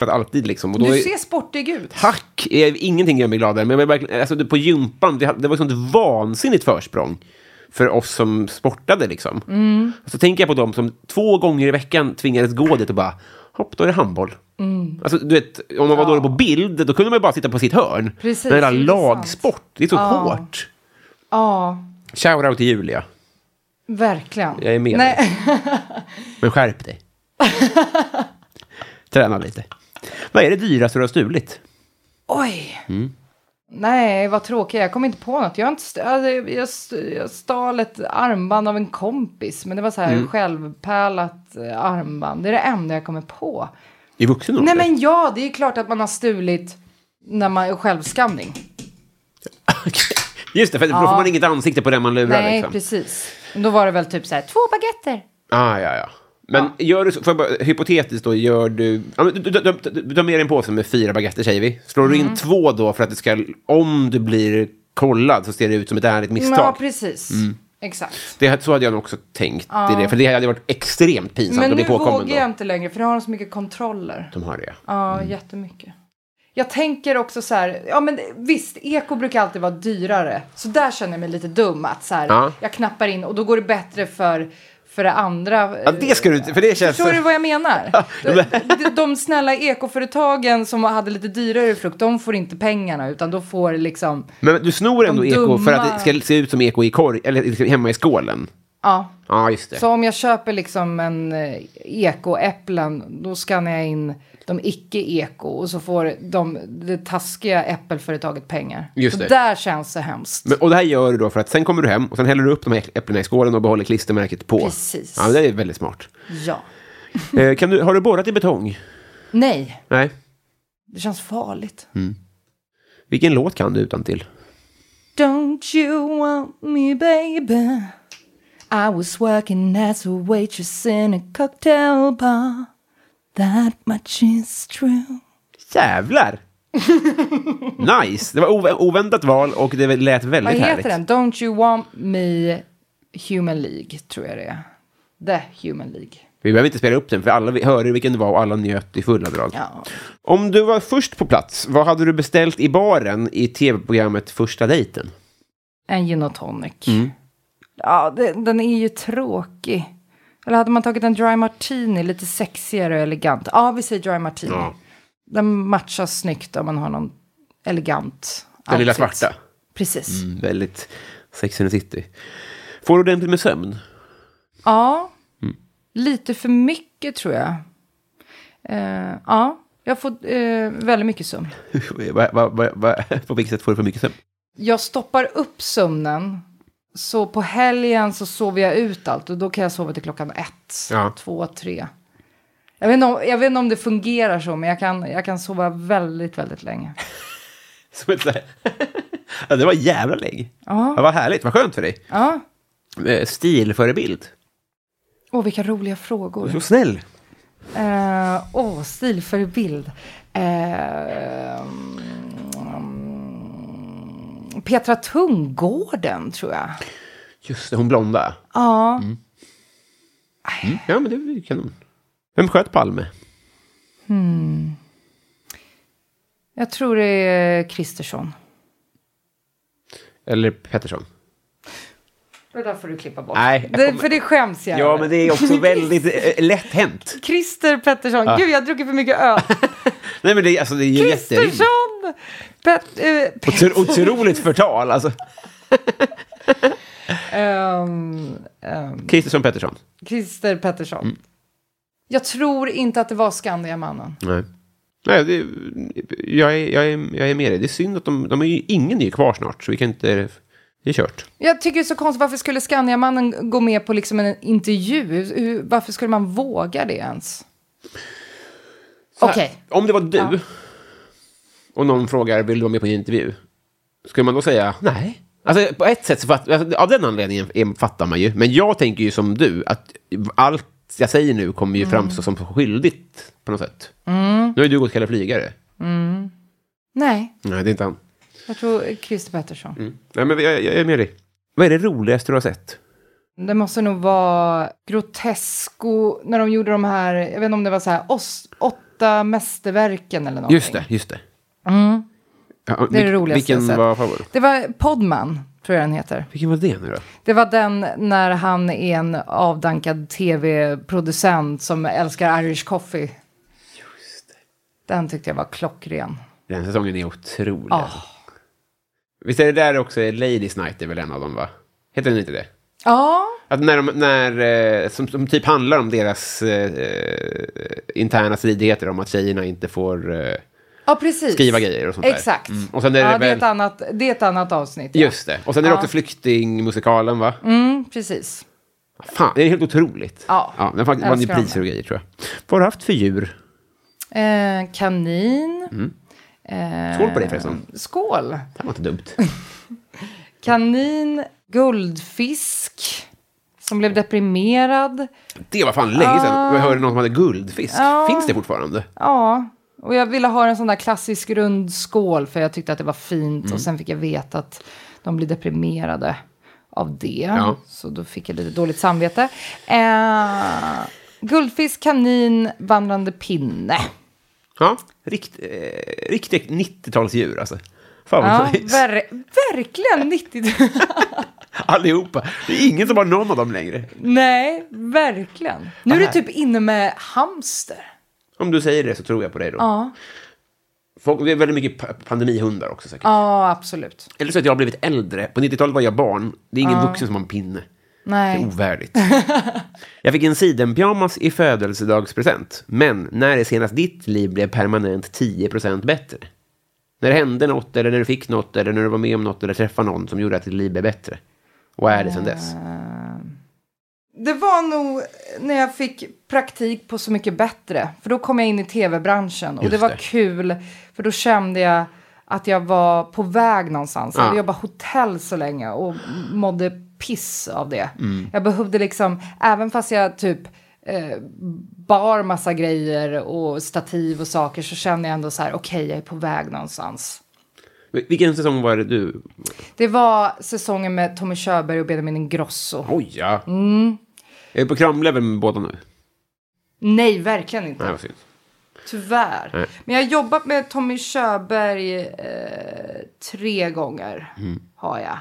För att alltid liksom. Och då Du är- ser sportig ut. Hack är ingenting gör mig gladare, men jag är verkligen, alltså, det- på gympan, det, det var ett sånt vansinnigt försprång för oss som sportade. Liksom. Mm. Och Så tänker jag på dem som två gånger i veckan tvingades gå dit och bara, hopp, då är det handboll. Mm. Alltså, du vet, om man var dålig på bild, då kunde man ju bara sitta på sitt hörn. Precis, Men hela det är lagsport, det är så Ja. hårt. Ja, Shoutout till Julia, verkligen. Jag är med Nej. men skärp dig. Träna lite. Vad är det dyraste du har stulit? Oj. Mm. Nej, vad tråkigt. Jag kom inte på något. Jag, har inte st- alltså, jag, jag, st- jag stal ett armband av en kompis, men det var så här Mm. självpärlat eh, armband. Det är det enda jag kommer på. I vuxen ålder? Nej, men ja, det är klart att man har stulit när man är självskanning. Just det, för då Ja. får man inget ansikte på den man lurar. Nej, liksom. precis. Då var det väl typ så här, två baguetter. Ah, ja, ja. Men gör du, så- får jag bara, hypotetiskt då, gör du... ja, men Du, du, du, du, du tar med dig en påse med fyra baguetter, säger vi. Slår du in Mm. två då för att det ska... Om du blir kollad så ser det ut som ett ärligt misstag. Ja, precis. Mm. Exakt. Det, här- så hade jag nog också tänkt Ja. i det, för det hade varit extremt pinsamt Men att nu bli vågar påkommen jag då. inte längre, för nu har de så mycket kontroller. De har det. Ja, Mm. jättemycket. Jag tänker också så här, ja men visst, eko brukar alltid vara dyrare. Så där känner jag mig lite dum att så här, Ja. jag knappar in och då går det bättre för, för det andra. Ja, det ska du inte... För det känns... Förstår du vad jag menar? De, de snälla ekoföretagen som hade lite dyrare frukt, de får inte pengarna utan då får liksom, Men du snor ändå De eko för att det dumma- ska se ut som eko i korg, eller hemma i skålen. ja. Ja, just det. Så om jag köper liksom en eh, ekoäpplen, då skannar jag in de icke-eko och så får de, det taskiga äppelföretaget pengar. Just Och det. där känns det hemskt. Men, och det här gör du då för att sen kommer du hem och sen häller du upp de här äpplena i skålen och behåller klistermärket på. Precis. Ja, men det är väldigt smart. Ja. Eh, kan du, har du borrat i betong? Nej, Nej. det känns farligt. Mm. Vilken låt kan du utan till? Don't you want me baby? I was working as a waitress in a cocktail bar. That much is true. Jävlar! nice! Det var ov- oväntat val och det lät Vad väldigt heter härligt. den? Don't you want me human League, tror jag det är. The Human League. Vi behöver inte spela upp den, för alla vi- hörde vilken det var och alla njöt i fulla drag. Ja. Om du var först på plats, vad hade du beställt i baren i tv-programmet Första dejten? En gin och tonic. Mm. Ja, det, den är ju tråkig. Eller hade man tagit en dry martini, lite sexigare och elegant. Ja, vi säger dry martini. Ja. Den matchar snyggt om man har någon elegant Den lilla outfit. svarta. Precis. Mm, väldigt Sex and the City. Får du ordentligt med sömn? Ja, Mm. lite för mycket tror jag. Eh, ja, jag får eh, väldigt mycket sömn. Va- va- va- va- på vilket sätt får du för mycket sömn? Jag stoppar upp sömnen. Så på helgen så sover jag ut allt och då kan jag sova till klockan ett, Ja. två, tre. Jag vet, inte om, jag vet inte om det fungerar så, men jag kan, jag kan sova väldigt, väldigt länge. Som ett så här- ja, det var jävla länge. Ja. Ja, vad härligt, vad skönt för dig. Ja. Eh, Stilförebild. Åh, vilka roliga Du frågor. är så snäll. Eh, Åh, stilförebild. Eh, mm, Petra Tunggården, tror jag. Just det, hon blonda. Ja. Mm. Ja, men det är ju kanon. Vem sköt Palme? Hmm. Jag tror det är Kristersson. Eller Pettersson? Det där får du klippa bort. Nej, jag det, kommer- För det skäms jag Ja, över. men det är också väldigt eh, lätt hänt. Christer Pettersson. Ja. Gud, jag har druckit för mycket öl. Nej, men det, alltså, Ah. det är ju jätterimligt. Kristersson! Pet- eh, Otro, otroligt förtal, alltså. ehm, ehm, Kristersson Pettersson. Mm. Christer Pettersson. Jag tror inte att det var Skandiamannen. Nej. Nej, det, jag, är, jag, är, jag är med dig. Det är synd att de, de är ju, ingen är ju kvar snart, så vi kan inte... Det är kört. Jag tycker det är så konstigt, varför skulle Skandiamannen gå med på liksom en intervju? Hur- hur- Varför skulle man våga det ens? Så här, Okej. Om det var du och någon frågar vill du vara med på en intervju, skulle man då säga nej? Alltså på ett sätt, så fatt, alltså, av den anledningen är- fattar man ju, men jag tänker ju som du, att allt jag säger nu kommer ju Mm. framstå som skyldigt på något sätt. Mm. Nu har ju du gått Kalle Flygare. Mm. Nej, Nej, det är inte han. jag tror Christer Pettersson. Mm. Nej, men jag, jag är med dig. Vad är det roligaste du har sett? Det måste nog vara Grotesco, när de gjorde de här, jag vet inte om det var så här, os, åtta mästerverken eller någonting. Just det, just det. Mm. Ja, Det är det vil- roligaste jag Vilken sett. var favorit? Det var Podman, tror jag den heter. Vilken var det nu då? Det var den när han är en avdankad tv-producent som älskar Irish coffee. Just det. Den tyckte jag var klockren. Den säsongen är otrolig. Ja. alltså. Visst är det där också Ladies Night är väl en av dem, va? Heter den inte det? Ja, Att när de, när, eh, som, som typ handlar om deras eh, interna stridigheter om att tjejerna inte får eh, ja precis. skriva grejer och sånt där. Exakt. Mm. Och sen är det ja, det, är väl... ett annat, det är ett annat avsnitt. ja. Just det. Och sen är det Ja. också flyktingmusikalen, va? Mm, precis. Fan, det är helt otroligt. Ja. ja den fan- vann ju Älskar dem. priser och grejer, tror jag. Vad har du haft för djur? Eh, kanin. Mm. Eh, Skål på dig förresten. Skål. Det här var inte dumt. Kanin, guldfisk som blev deprimerad. Det var fan länge sedan Ah. jag hörde någon som hade guldfisk. Ja. Finns det fortfarande? Ja, och jag ville ha en sån där klassisk rund skål för jag tyckte att det var fint Mm. och sen fick jag veta att de blir deprimerade av det. Ja. Så då fick jag lite dåligt samvete. Eh, guldfisk, kanin, vandrande pinne. Ja, rikt, eh, riktigt 90-talsdjur alltså. Fan vad Ja, nice. ver- verkligen 90 Allihopa. Det är ingen som har någon av dem längre. Nej, verkligen. Nu är Vad du typ inne med hamster. Om du säger det så tror jag på dig då. Ja, Folk, det är väldigt mycket pa- pandemihundar också säkert. ja absolut. Eller så att jag har blivit äldre. På 90-talet var jag barn. Det är ingen Ja. vuxen som har en pinne. Det är Nej. ovärdigt. jag fick en sidenpyjamas i födelsedagspresent. Men när är senast ditt liv blev permanent 10% bättre? När det hände något, eller när du fick något, eller när du var med om något, eller träffade någon som gjorde att ditt liv blev bättre? Vad är det sen dess? Ah. Det var nog när jag fick praktik på Så mycket bättre. För då kom jag in i tv-branschen. Och Just det var det. kul. För då kände jag att jag var på väg någonstans. Jag Ja. hade jobbat hotell så länge och mådde piss av det. Mm. Jag behövde liksom, även fast jag typ eh, bar massa grejer och stativ och saker så kände jag ändå så här, okej, jag är på väg någonstans. Vil- Vilken säsong var det du... Det var säsongen med Tommy Körberg och Benjamin Ingrosso. Oj, ja. Mm. Är du på kramlevel med båda nu? Nej, verkligen inte. Nej, vad synd. Tyvärr. Nej. Men jag har jobbat med Tommy Körberg eh, tre gånger. Mm. Har jag.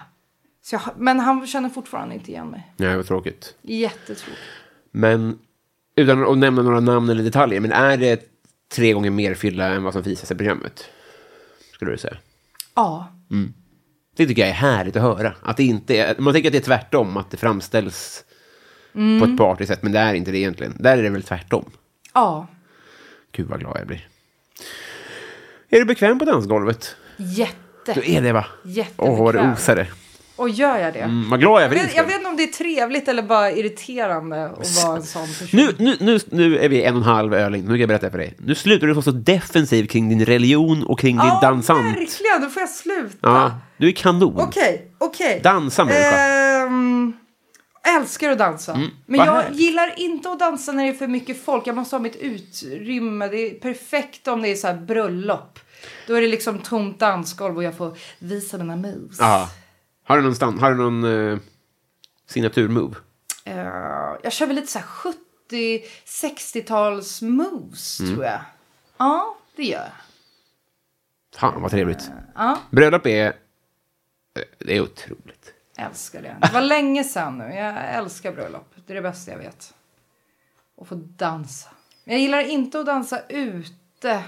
Så jag. har- Men han känner fortfarande inte igen mig. Nej, vad tråkigt. Jättetråkigt. Men utan att nämna några namn eller detaljer, men är det tre gånger mer fylla än vad som visas i programmet? Skulle du säga. Ja. Mm. Det tycker jag är härligt att höra. Att det inte är, man tänker att det är tvärtom, att det framställs Mm. på ett partiskt sätt, men det är inte det egentligen. Där är det väl tvärtom. Ja. Gud vad glad jag blir. Är du bekväm på dansgolvet? Jätte. Du är det va? Jättebekväm. Åh, vad det osar det. Och gör jag det? Mm, vad glad jag Jag blir. vet, jag vet inte om det är trevligt eller bara irriterande att vara en sån person. Nu, nu, nu, nu är vi en och en halv öl in. Nu kan jag berätta för dig. Nu slutar du vara så defensiv kring din religion och kring din Ja, dansant. Verkligen, då får jag sluta. Ja, du är kanon. Okej, okej. Dansa, människa. Ehm, älskar att dansa. Mm, Men vad jag härligt. gillar inte att dansa när det är för mycket folk. Jag måste ha mitt utrymme. Det är perfekt om det är så här bröllop. Då är det liksom tomt dansgolv och jag får visa mina moves. Ja. Har du någon, stan- har du någon eh, signaturmove? Eh, jag kör väl lite så här 70, 60-tals moves Mm. tror jag. Ja, det gör jag. Fan, vad trevligt. Ja, Bröllop är... eh, Det är otroligt. älskar det. Det var länge sedan nu. Jag älskar bröllop. Det är det bästa jag vet. Att få dansa. Men jag gillar inte att dansa ute.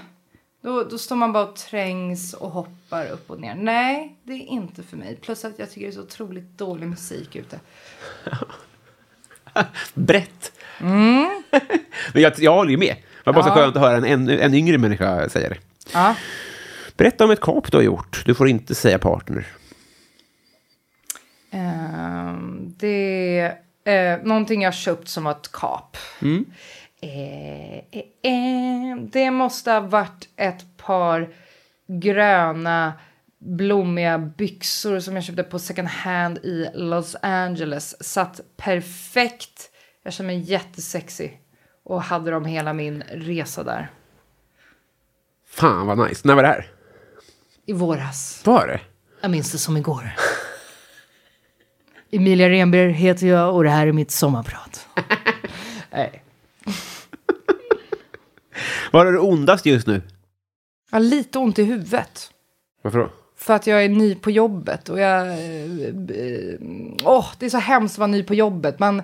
Då, då står man bara och trängs och hoppar upp och ner. Nej, det är inte för mig. Plus att jag tycker det är så otroligt dålig musik ute. Brett. Mm. Men jag, jag håller ju med. Det var bara så Ja. skönt att höra en, en, en yngre människa säga det. Ja. Berätta om ett kap du har gjort. Du får inte säga partner. Ehm, det är eh, någonting jag köpt som var ett kap. Mm. Eh, eh, eh, det måste ha varit ett par gröna blommiga byxor som jag köpte på second hand i Los Angeles. Satt perfekt. Jag kände mig jättesexig. Och hade dem hela min resa där. Fan vad nice. När var det här? I våras. Var det? Jag minns det som igår. Emilia Renberg heter jag och det här är mitt sommarprat. Nej. Var är det ondast just nu? Jag har lite ont i huvudet. Varför då? För att jag är ny på jobbet och jag... eh, b- Åh, det är så hemskt att vara ny på jobbet. Man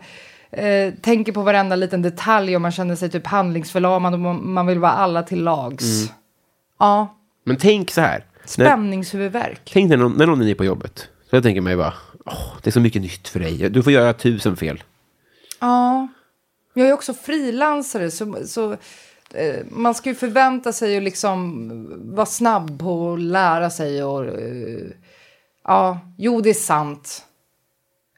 eh, tänker på varenda liten detalj och man känner sig typ handlingsförlamad och man, man vill vara alla till lags. Mm. Ja, Men tänk så här. När, spänningshuvudvärk. tänk när någon, när någon är ny på jobbet. Så jag tänker mig bara, åh, det är så mycket nytt för dig. Du får göra tusen fel. Ja. Jag är också frilansare, så, så eh, man ska ju förvänta sig att liksom vara snabb på att lära sig och... Eh, ja, jo, det är sant.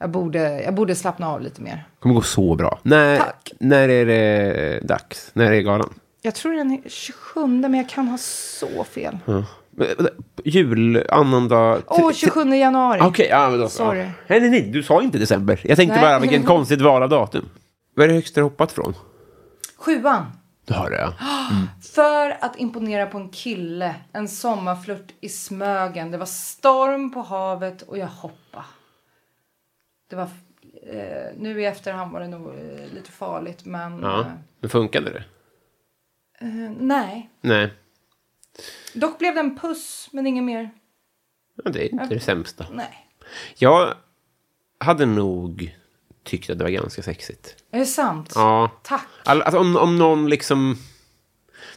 Jag borde, jag borde slappna av lite mer. Det kommer gå så bra. När, när är det dags? När är galan? Jag tror den är 27, men jag kan ha så fel. Ja. Men, vänta, Jul, annandag... Åh, 27 januari. Okej, ja men då så. Sorry. Nej, nej, nej, du sa inte december. Jag tänkte Nej. bara vilken konstigt val av datum. Vad är det högst du har hoppat från? Sjuan. Du har det, ja. För att imponera på en kille, en sommarflört i Smögen. Det var storm på havet och jag hoppade. Det var... Eh, nu i efterhand var det nog eh, lite farligt, men... ja. Men funkade det? Eh, nej. Nej, Dock blev det en puss, men inget mer. ja, det är inte det sämsta. Nej. Jag hade nog tyckt att det var ganska sexigt. Är det sant? Ja. Tack. All, alltså, om, om någon liksom...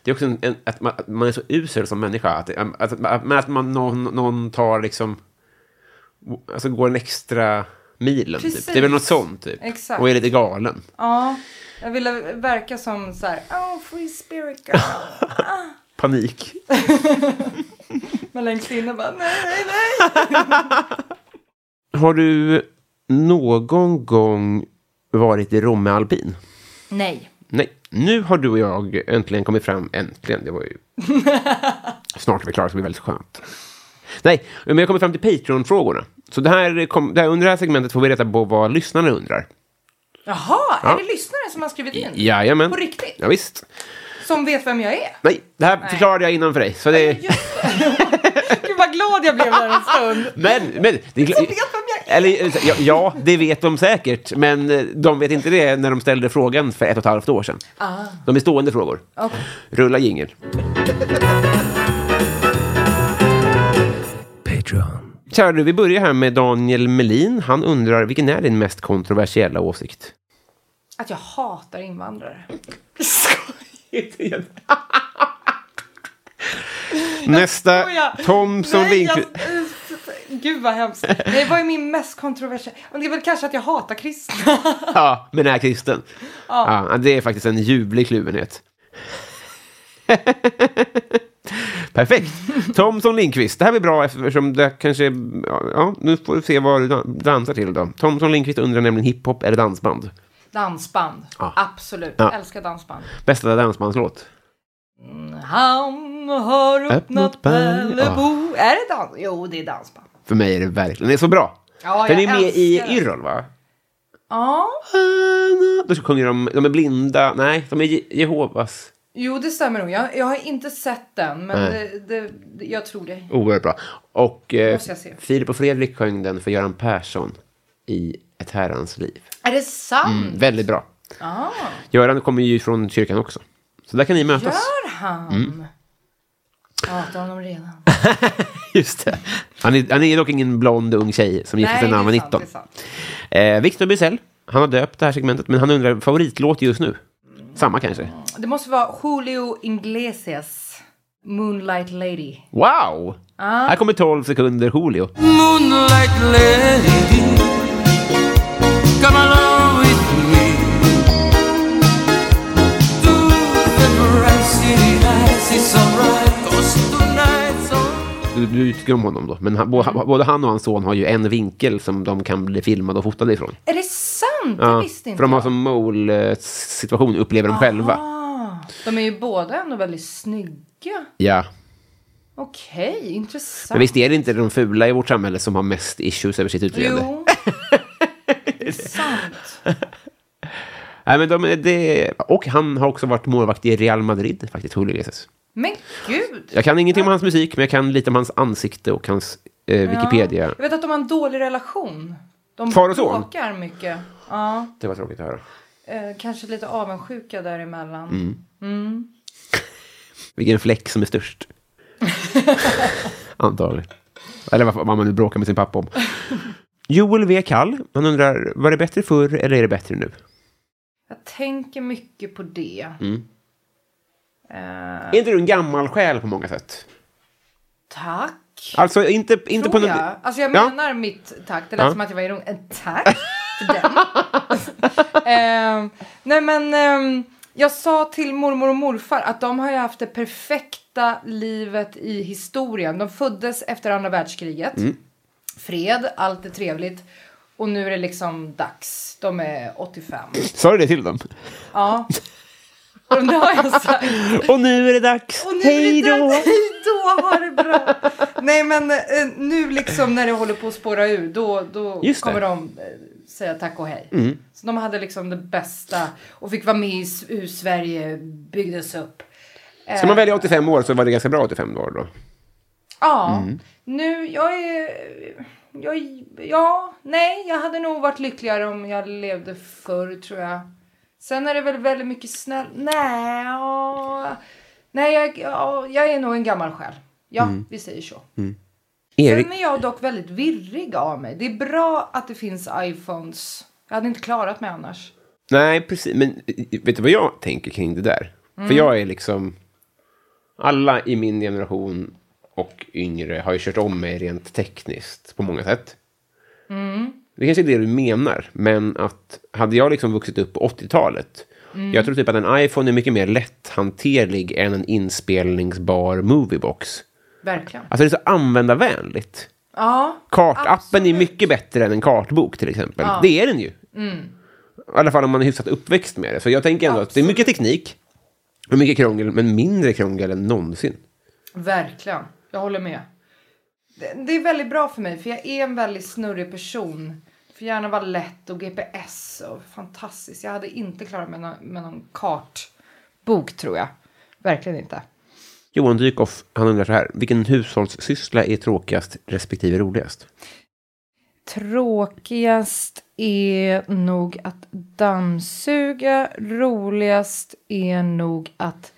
Det är också en, en, att, man, att man är så usel som människa. Att, det- att, att, men att man, någon, någon tar liksom... Alltså går en extra milen, typ. Precis. Det är väl något sånt, typ. Exakt. Och är lite galen. Ja. Jag ville verka som så här... Oh, free spirit girl. Ah. Panik. men längst inne bara... Nej, nej, nej. Har du någon gång varit i Romme Alpin? nej. Nej. Nu har du och jag äntligen kommit fram. Äntligen, det var ju... Snart är vi klara, så det blir väldigt skönt. Nej, men jag kommer fram till Patreon-frågorna. Så det här kom, det här, under det här segmentet får vi reda på vad lyssnarna undrar. Jaha, Ja. är det lyssnare som har skrivit in? Jajamän. På riktigt? Ja, visst. Som vet vem jag är? Nej, det här Nej. förklarade jag innan för dig. Så det, Gud vad glad jag blev där en stund. men, men... Det, Som vet vem jag är. eller, ja, ja, det vet de säkert, men eh, de vet inte det när de ställde frågan för ett och ett halvt år sedan. Ah. De är stående frågor. Okej. Rulla jingel. Patreon. Kära du, vi börjar här med Daniel Melin. Han undrar, vilken är din mest kontroversiella åsikt? Att jag hatar invandrare. Nästa, Skoja. Tom som Nej, Lindqvist. jag- Gud vad hemskt. Nej, vad är min mest kontroversiella? Men Det är väl kanske att jag hatar kristna. Ja, men är kristen. Ja. Ja. det är faktiskt en ljuvlig kluvenhet. Perfekt. Thomson Lindqvist. Det här blir bra eftersom det kanske... Ja, nu får vi se vad du dan- dansar till då. Thomson Lindqvist undrar nämligen hiphop eller dansband. Dansband. Ja. Absolut. Ja. Älskar dansband. Bästa dansbandslåt? Han har öppnat Bellebo. Är det dans? Jo, det är dansband. För mig är det verkligen... Det är så bra. Ja, Den är jag med i älskar den. Yrrol, va? Ja. Då sjunger de... De är blinda. Nej, de är Je- Jehovas. Jo, det stämmer nog. Jag, jag har inte sett den, men Nej. det, det, det, jag tror det. Oerhört bra. Och eh, Måste jag se. Filip och Fredrik sjöng den för Göran Persson i Ett herrans liv. Är det sant? Mm, väldigt bra. Ja, Göran kommer ju från kyrkan också. Så där kan ni mötas. gör han? Mm. Jag hatar honom redan. Just det. Han är, han är dock ingen blond ung tjej som gifte Nej, sig när han var det är sant, 19. Eh, Victor Bysell, han har döpt det här segmentet, men han undrar favoritlåt just nu. Samma kanske. Det måste vara Julio Iglesias Moonlight Lady. Wow! Ja. Här kommer 12 sekunder Julio. Moonlight lady, come along with me. du, du utgår om honom då. Men han, bo- både han och hans son har ju en vinkel som de kan bli filmade och fotade ifrån. Är det sant? Ja, det visste inte För de har jag. som mål-situation, upplever de själva. Ah, de är ju båda ändå väldigt snygga. Ja. Okej, intressant. Men visst är det inte de fula i vårt samhälle som har mest issues över sitt utseende? Jo. sant. Nej, men de, är- det, och han har också varit målvakt i Real Madrid, faktiskt, Julio Iglesias. Men gud. Jag kan ingenting om hans musik, men jag kan lite om hans ansikte och hans eh, Wikipedia. Ja, jag vet att de har en dålig relation. De Far och son? bråkar mycket. Ja. Det var tråkigt att höra. Eh, kanske lite avundsjuka däremellan. Mm. Mm. Vilken fläck som är störst. Antagligen. Eller vad vad man nu bråkar med sin pappa om. Joel V. Kall, han undrar, var det bättre förr eller är det bättre nu? Jag tänker mycket på det. Mm. Eh, Är inte du en gammal själ på många sätt? tack. Alltså inte, inte Tror på något... jag. Alltså jag Ja. menar mitt tack. Det lät Ja. som att jag var ironisk. En tack för den. Ehm, nej men ehm, jag sa till mormor och morfar att de har ju haft det perfekta livet i historien. De föddes efter andra världskriget. Mm. Fred, allt är trevligt. Och nu är det liksom dags. De är 85. Sa du det till dem? Ja. Och det har jag sagt. Och nu är det dags! Och nu Hej är det då! dags. Hej då, ha det bra! Nej men eh, nu liksom när det håller på att spåra ur då, då Just det. kommer de eh, säga tack och hej. Mm. Så de hade liksom det bästa och fick vara med i s- hur Sverige byggdes upp. Eh, Ska man välja 85 år så var det ganska bra 85 år då. Ja, Mm. nu jag är... Jag, är- ja, nej, jag hade nog varit lyckligare om jag levde förr tror jag. Sen är det väl väldigt mycket snäll... Nej, ja. nej jag, ja, jag är nog en gammal själ. Ja, Mm. vi säger så. Erik, Sen är jag dock väldigt virrig av mig. Det är bra att det finns iPhones. Jag hade inte klarat mig annars. nej precis, men eh, vet du vad jag tänker kring det där? För Mm. jag är liksom, alla i min generation och yngre har ju kört om mig rent tekniskt på många sätt. Mm. Det kanske är det du menar, men att hade jag liksom vuxit upp på 80-talet, Mm. jag tror typ att en iPhone är mycket mer lätthanterlig än en inspelningsbar moviebox. Verkligen. Alltså det är så användarvänligt. Ja. Kartappen är mycket bättre än en kartbok till exempel. Ja. Det är den ju. Mm. I alla fall om man är hyfsat uppväxt med det. Så jag tänker ändå att det är mycket teknik och mycket krångel, men mindre krångel än någonsin. Verkligen. Jag håller med. Det, det är väldigt bra för mig, för jag är en väldigt snurrig person. För gärna vara lätt och GPS och fantastiskt. Jag hade inte klarat mig nå- med någon kartbok, tror jag. Verkligen inte. Johan Dykhoff, han undrar så här, vilken hushållssyssla är tråkigast respektive roligast? Tråkigast är nog att dammsuga. Roligast är nog att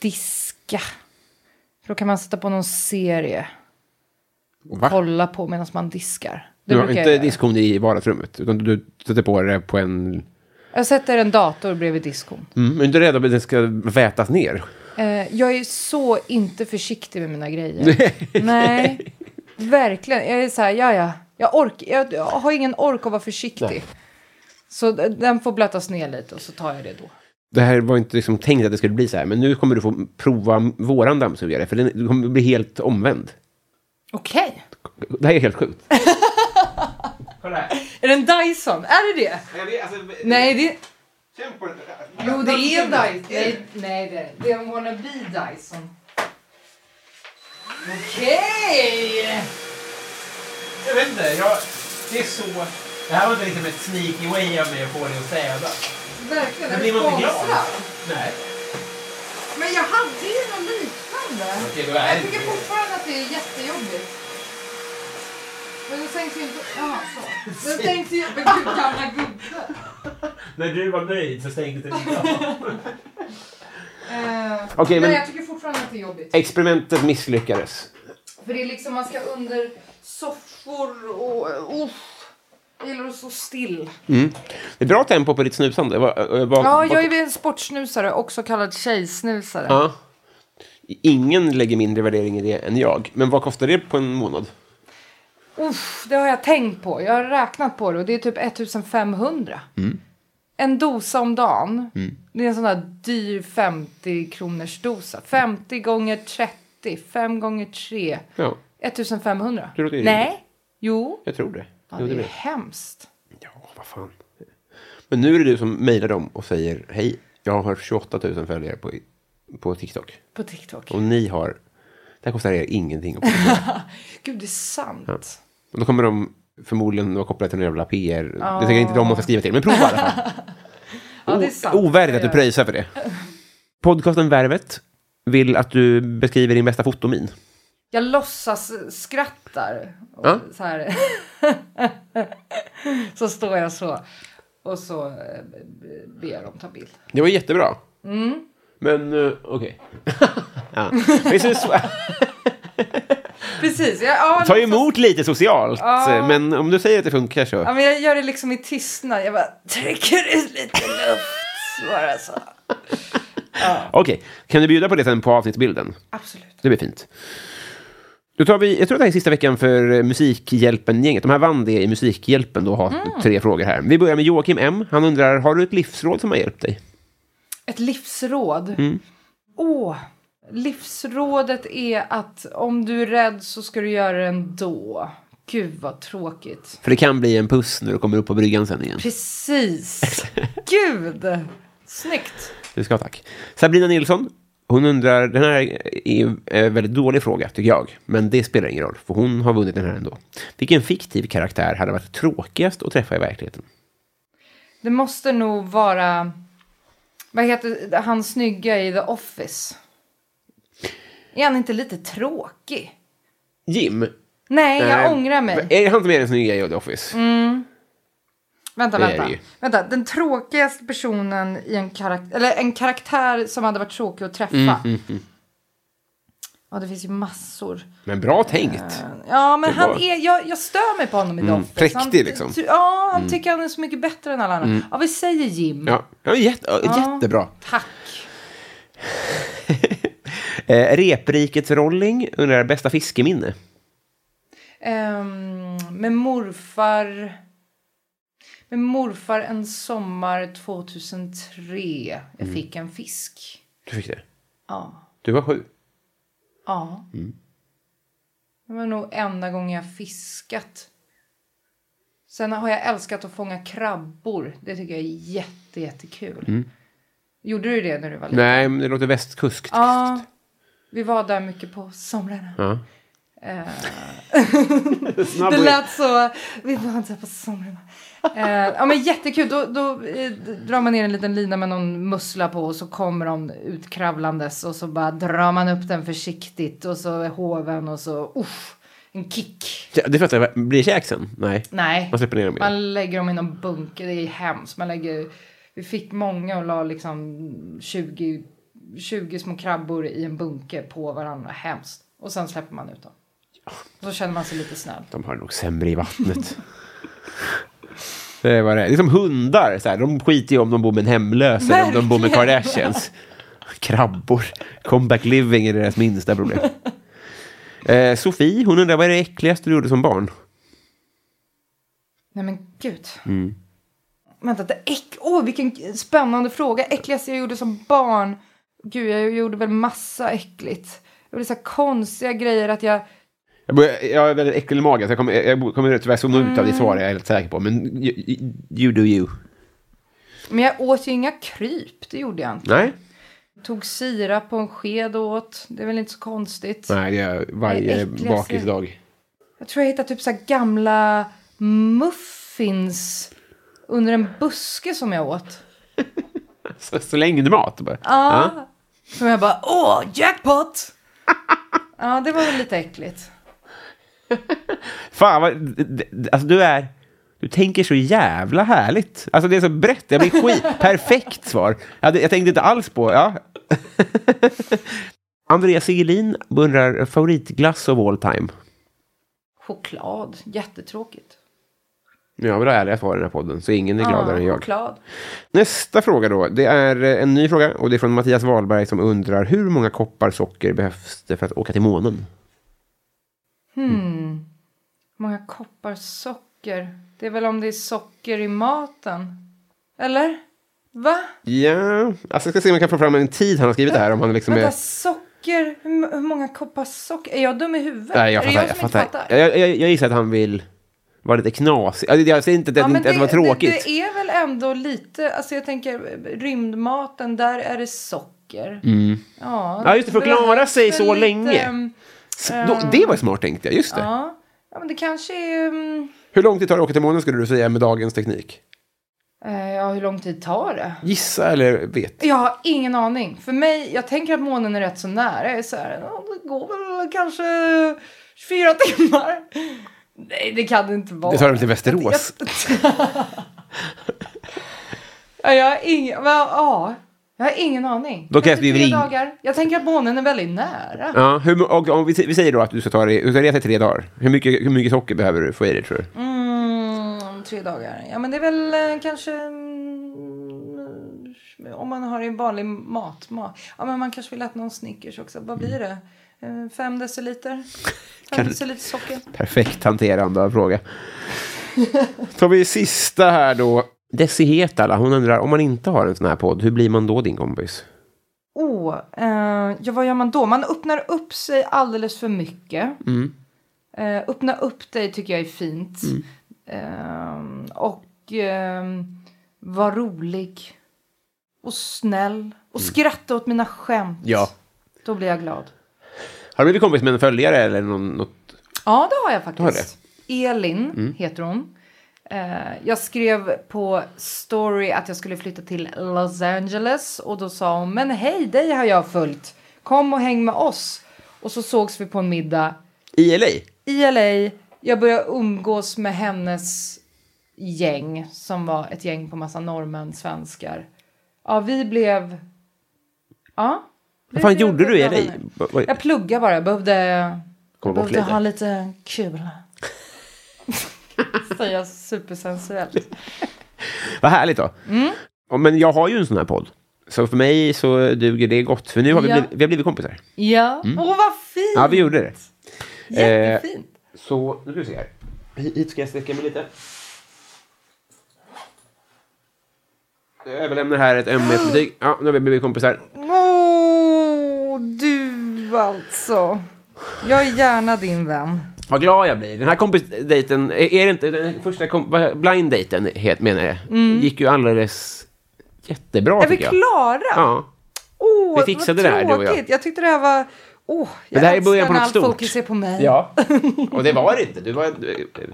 diska. För då kan man sätta på någon serie. Och kolla på medan man diskar. Det Du har brukar jag inte göra. diskon i vardagsrummet, utan du sätter på det på en... Jag sätter en dator bredvid diskon. Mm, men du är rädd att den ska vätas ner? Eh, jag är så inte försiktig med mina grejer. Nej, verkligen. Jag är så här, ja, ja. Jag, ork, jag, jag har ingen ork att vara försiktig. Så d- den får blötas ner lite och så tar jag det då. Det här var inte liksom tänkt att det skulle bli så här, men nu kommer du få prova våran dammsugare, för den, du kommer bli helt omvänd. Okej. Det här är helt sjukt. Är det en Dyson? Är det det? alltså, Nej, det... Jo, det är en Dyson. Nej, nej det är det. Det är en wannabe Dyson. Okej! Jag vet inte, jag, det är så... Det här var inte liksom ett sneaky way av mig att få dig att städa. Verkligen. Men är blir du man inte glad? sponsrad? Nej. Men jag hade ju något liknande. Okej, då är jag det tycker inte det. fortfarande att det är jättejobbigt. Men det sänks ju inte... Ja, så. Den sänks ju... Men gud, gamla gubbe. När du var nöjd så stängde det Eh, Okej, men- Nej, jag tycker fortfarande att det är jobbigt. Experimentet misslyckades. För det är liksom, man ska under soffor och... uh, Uff. Jag gillar att stå still. Mm. Det är bra tempo på ditt snusande. Var, var, Ja, jag är en sportsnusare, också kallad tjejsnusare. Ja. Ingen lägger mindre värdering i det än jag. Men vad kostar det på en månad? Uff, det har jag tänkt på. Jag har räknat på det och det är typ 1500. Mm. En dosa om dagen. Det är en sån där dyr 50 kronors dosa. 50 gånger 30, 5 gånger 3. Ja. 1500? Det låter ju rimligt. Nej. Jo. Jag tror det. Ja, Jo, det är blir- hemskt. Vad fan. Men nu är det du som mejlar dem och säger hej, jag har 28 000 följare på, på TikTok. På TikTok. Och ni har, det här kostar er ingenting. att följa." Gud, det är sant. Ja. Och då kommer de förmodligen vara kopplade till någon jävla PR. Ja. Det tänker inte de man ska skriva till, men prova i alla fall. Ja, det är O- sant. Ovärdigt att Jag du gör. pröjsar för det. Podcasten Värvet vill att du beskriver din bästa fotomin. Jag låtsas eh, skrattar. Och Ja. så, här. så står jag så. Och så eh, ber jag dem ta bild. Det var jättebra. Mm. Men eh, okej. ja. Det är så sv- Precis. Jag, ja, Ta emot lite socialt. eh, Ja. Men om du säger att det funkar så. ja, men jag gör det liksom i tystnad. Jag bara trycker ut lite luft. Bara så. Okej, kan du bjuda på det sen på avsnittsbilden? Absolut. Det blir fint. Då tar vi, jag tror att det här är sista veckan för eh, Musikhjälpen-gänget. De här vann det i Musikhjälpen då, har Mm. tre frågor här. Vi börjar med Joakim M. Han undrar, har du ett livsråd som har hjälpt dig? Ett livsråd. Mm. Åh, livsrådet är att om du är rädd så ska du göra det ändå. Gud vad tråkigt. För det kan bli en puss när du kommer upp på bryggan sen igen. Precis. Gud. Snyggt. Du ska ha tack. Sabrina Nilsson, hon undrar, den här är en väldigt dålig fråga tycker jag, men det spelar ingen roll, för hon har vunnit den här ändå. Vilken fiktiv karaktär hade varit tråkigast att träffa i verkligheten? Det måste nog vara... Vad heter han snygga i The Office? Är han inte lite tråkig? Jim? Nej, jag Eh, ångrar mig. Är det han som är den snygga i The Office? Mm. Vänta, Det är vänta. det ju. vänta. Den tråkigaste personen i en karaktär... Eller en karaktär som hade varit tråkig att träffa. Mm, mm, mm. Ja, det finns ju massor. Men bra tänkt. Ja, men Det han var- är, jag, jag stör mig på honom i The Mm, Office. präktig, han, liksom. Ja, han Mm. tycker han är så mycket bättre än alla andra. Mm. Ja, vi säger Jim. Ja, ja, jätte, ja, Ja. jättebra. Tack. Eh, Reprikets Rolling undrar bästa fiskeminne. Ehm, med morfar... Med morfar en sommar 2003. Jag Mm. fick en fisk. Du fick det. Ja. Du var sju. Ja. Mm. Det var nog enda gången jag fiskat. Sen har jag älskat att fånga krabbor. Det tycker jag är jätte, jättekul. Mm. Gjorde du det när du var liten? Nej, men det låter västkuskt. Ja. Vi var där mycket på somrarna. Ja. Eh, Snabb det och- lät så. Vi var där på somrarna. Eh, ja, men jättekul. Då, då eh, d- drar man ner en liten lina med någon mussla på och så kommer de utkravlandes och så bara drar man upp den försiktigt och så är hoven och så uff, en kick. Ja, Det fattar jag. Blir det käk sen? Nej. Nej. Man släpper ner dem igen. Man lägger dem i någon bunker. Det är hemskt. Man lägger, vi fick många och la liksom 20, 20 små krabbor i en bunker på varandra. Hemskt. Och sen släpper man ut dem. Och så känner man sig lite snäll. De har det nog sämre i vattnet. det var det. är. Det är som hundar. Så här. De skiter ju om de bor med en hemlös eller om de bor med Verkligen. Kardashians. Krabbor. Comeback living är deras minsta problem. Eh, Sofie, hon undrar vad är det äckligaste du gjorde som barn? Nej men gud. Mm. Vänta, det äck... Åh, vilken spännande fråga. Äckligaste jag gjorde som barn. Gud, jag gjorde väl massa äckligt. Jag gjorde så här konstiga grejer att jag... Jag, börjar, jag är väldigt äcklig i magen, så jag kommer, jag kommer tyvärr zona ut av ditt svar, jag är helt säker på. Men you, you do you. Men jag åt ju inga kryp, det gjorde jag inte. Nej, Tog sirap på en sked och åt. Det är väl inte så konstigt. Nej det gör jag varje Äckligaste. bakisdag. Jag tror jag hittade typ så här gamla muffins under en buske som jag åt. Så, så länge mat. Bara. Ja. Som jag bara, åh, jackpot! ja, det var väl lite äckligt. Fan, vad, d- d- alltså du är... Du tänker så jävla härligt. Alltså det är så brett, jag blir skit. Perfekt svar. Jag, hade, jag tänkte inte alls på... Ja. Andreas Sigelin undrar favoritglass of all time. Choklad, jättetråkigt. Ja, men då är det svar i den här podden, så ingen är gladare än ja, jag. choklad. Nästa fråga då. Det är eh, en ny fråga och det är från Mattias Wahlberg som undrar hur många koppar socker behövs det för att åka till månen? Hmm. Många koppar socker. Det är väl om det är socker i maten? Eller? Va? Ja, alltså jag ska se om jag kan få fram en tid han har skrivit det här om han liksom Vänta, är... socker? socker? Hur m- hur många koppar socker? Är jag dum i huvudet? Nej, jag är fattar. Jag, det jag som inte fattar. Jag, jag, jag gissar att han vill vara lite knasig. Alltså, jag säger inte att, det- Ja, men att det var Det, tråkigt. det är väl ändå lite, alltså jag tänker rymdmaten, där är det socker. Mm. Ja, Ja, just det, för att behövs klara sig så väl lite, länge. ehm, S- Då, det var smart tänkt jag, just det. Ja. ja, men det kanske är... ehm, Hur lång tid tar det att åka till månen skulle du säga med dagens teknik? eh, ja, hur lång tid tar det? Gissa eller vet? Jag har ingen aning. För mig, jag tänker att månen är rätt så nära. Jag är så här, ja, det går väl kanske 24 timmar. Nej, det kan det inte vara. Det tar dem till Västerås. Ja, jag, har ingen, men, ja, jag har ingen aning. Då krävs Kanske det ju tre ring. dagar. Jag tänker att månen är väldigt nära. Ja, hur, mu- och, om vi, sä- vi säger då att du ska ta dig, du ska resa i tre dagar. Hur mycket, hur mycket socker behöver du få i dig tror du? Mm, tre dagar. Ja, men det är väl eh, kanske... mm, Om man har en vanlig matmat. ja, men man kanske vill äta någon Snickers också. Vad blir det? Eh, Fem deciliter? Fem Kan- deciliter socker? Perfekt hanterande av fråga. Tar vi sista här då. Desi Hetala, hon undrar om man inte har en sån här podd, hur blir man då din kompis? Oh, eh, ja, vad gör man då? Man öppnar upp sig alldeles för mycket. Mm. Eh, öppna upp dig tycker jag är fint. Ehm, och ehm, var rolig. Och snäll. Och skratta åt mina skämt. Mm. Ja. Då blir jag glad. Har du blivit kompis med en följare eller någon, något? Ja, det har jag Du har det? faktiskt. Elin Mm. heter hon. Eh, jag skrev på story att jag skulle flytta till Los Angeles och då sa hon men hej dig har jag följt. Kom och häng med oss. Och så sågs vi på en middag I LA? i LA. Jag började umgås med hennes gäng som var ett gäng på massa norrmän, svenskar. Ja, vi blev... Ja. Vad fan vi blev gjorde du i bra LA? vänner. Vad- vad- Jag pluggade bara. Jag behövde, Komma jag bort behövde lite. ha lite kul. Säga supersensuellt. Vad härligt då. Mm. Ja, Men jag har ju en sån här podd. Så för mig så duger det gott. För nu har vi, Ja. blivit, vi har blivit kompisar. Ja. Mm. Åh, vad fint! Ja, eh, vi gjorde det. Jättefint. så, nu ska vi se här. Hit ska jag sträcka mig lite. Jag överlämnar här ett ömhetsbetyg. Ja, nu har vi blivit kompisar. Åh, du alltså. Jag är gärna din vän. Vad glad jag blir. Den här kompisdejten, är är det inte den första kom- vad- blind-dejten het- menar jag, Mm. gick ju alldeles jättebra är vi tycker jag. klara? Ja. Åh, Vi fixade vad det här, du och jag. tråkigt. Jag tyckte det här var... Åh, jag det här är älskar början på när något allt stort. fokus är på mig. Ja, och det var det inte. Du var eh,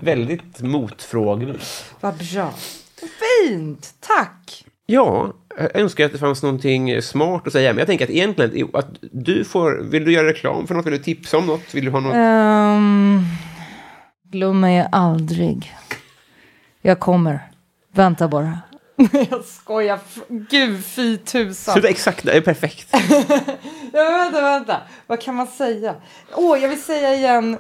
väldigt motfråglig. Vad bra. Vad Fint! Tack! Ja, jag önskar att det fanns någonting smart att säga. Men jag tänker att egentligen att du får... Vill du göra reklam för något? Vill du tipsa om något? Vill du ha något? Ehm, glöm mig aldrig. Jag kommer. Vänta bara. jag skojar. F- Gud, fy tusan. Sluta exakt, det är perfekt. Ja, men vänta, vänta. Vad kan man säga? Åh, jag vill säga igen.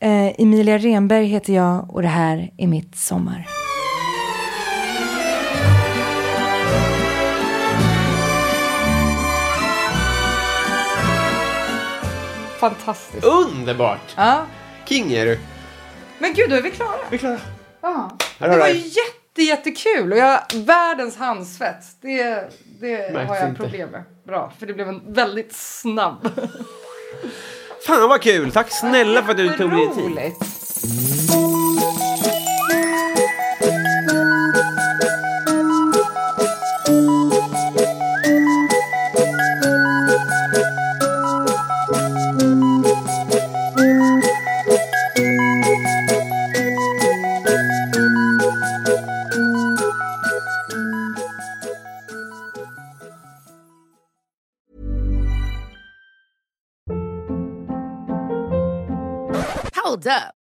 Eh, Emilia Renberg heter jag och det här är mitt sommar. Fantastiskt. Underbart! Ja. King är du. Men gud, då är vi klara. Vi är klara. Ja. Här Det har var du. ju jätte, jättekul och jag har världens handsvett. Det, det Märks har jag inte. problem med. Bra, för det blev en väldigt snabb. Fan vad kul! Tack snälla för att du tog dig tid. Hold up.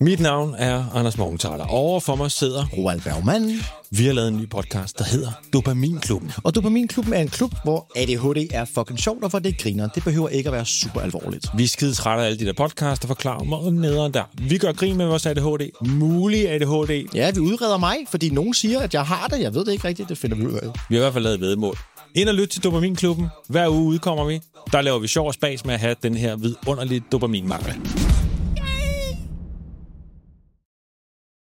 Mit navn er Anders Morgenthaler. Over for mig sidder Roald Bergmann. Vi har lavet en ny podcast, der hedder Dopaminklubben. Og Dopaminklubben er en klub, hvor ADHD er fucking sjovt, og hvor det griner. Det behøver ikke at være super alvorligt. Vi er skide trætte af alle de der podcasts, der forklarer mig og nederen der. Vi gør grin med vores ADHD. Mulig ADHD. Ja, vi udreder mig, fordi nogen siger, at jeg har det. Jeg ved det ikke rigtigt. Det finder vi ud af. Vi har i hvert fald lavet vedmål. Ind og lyt til Dopaminklubben. Hver uge udkommer vi. Der laver vi sjov og spas med at have den her vidunderlige dopaminmangel.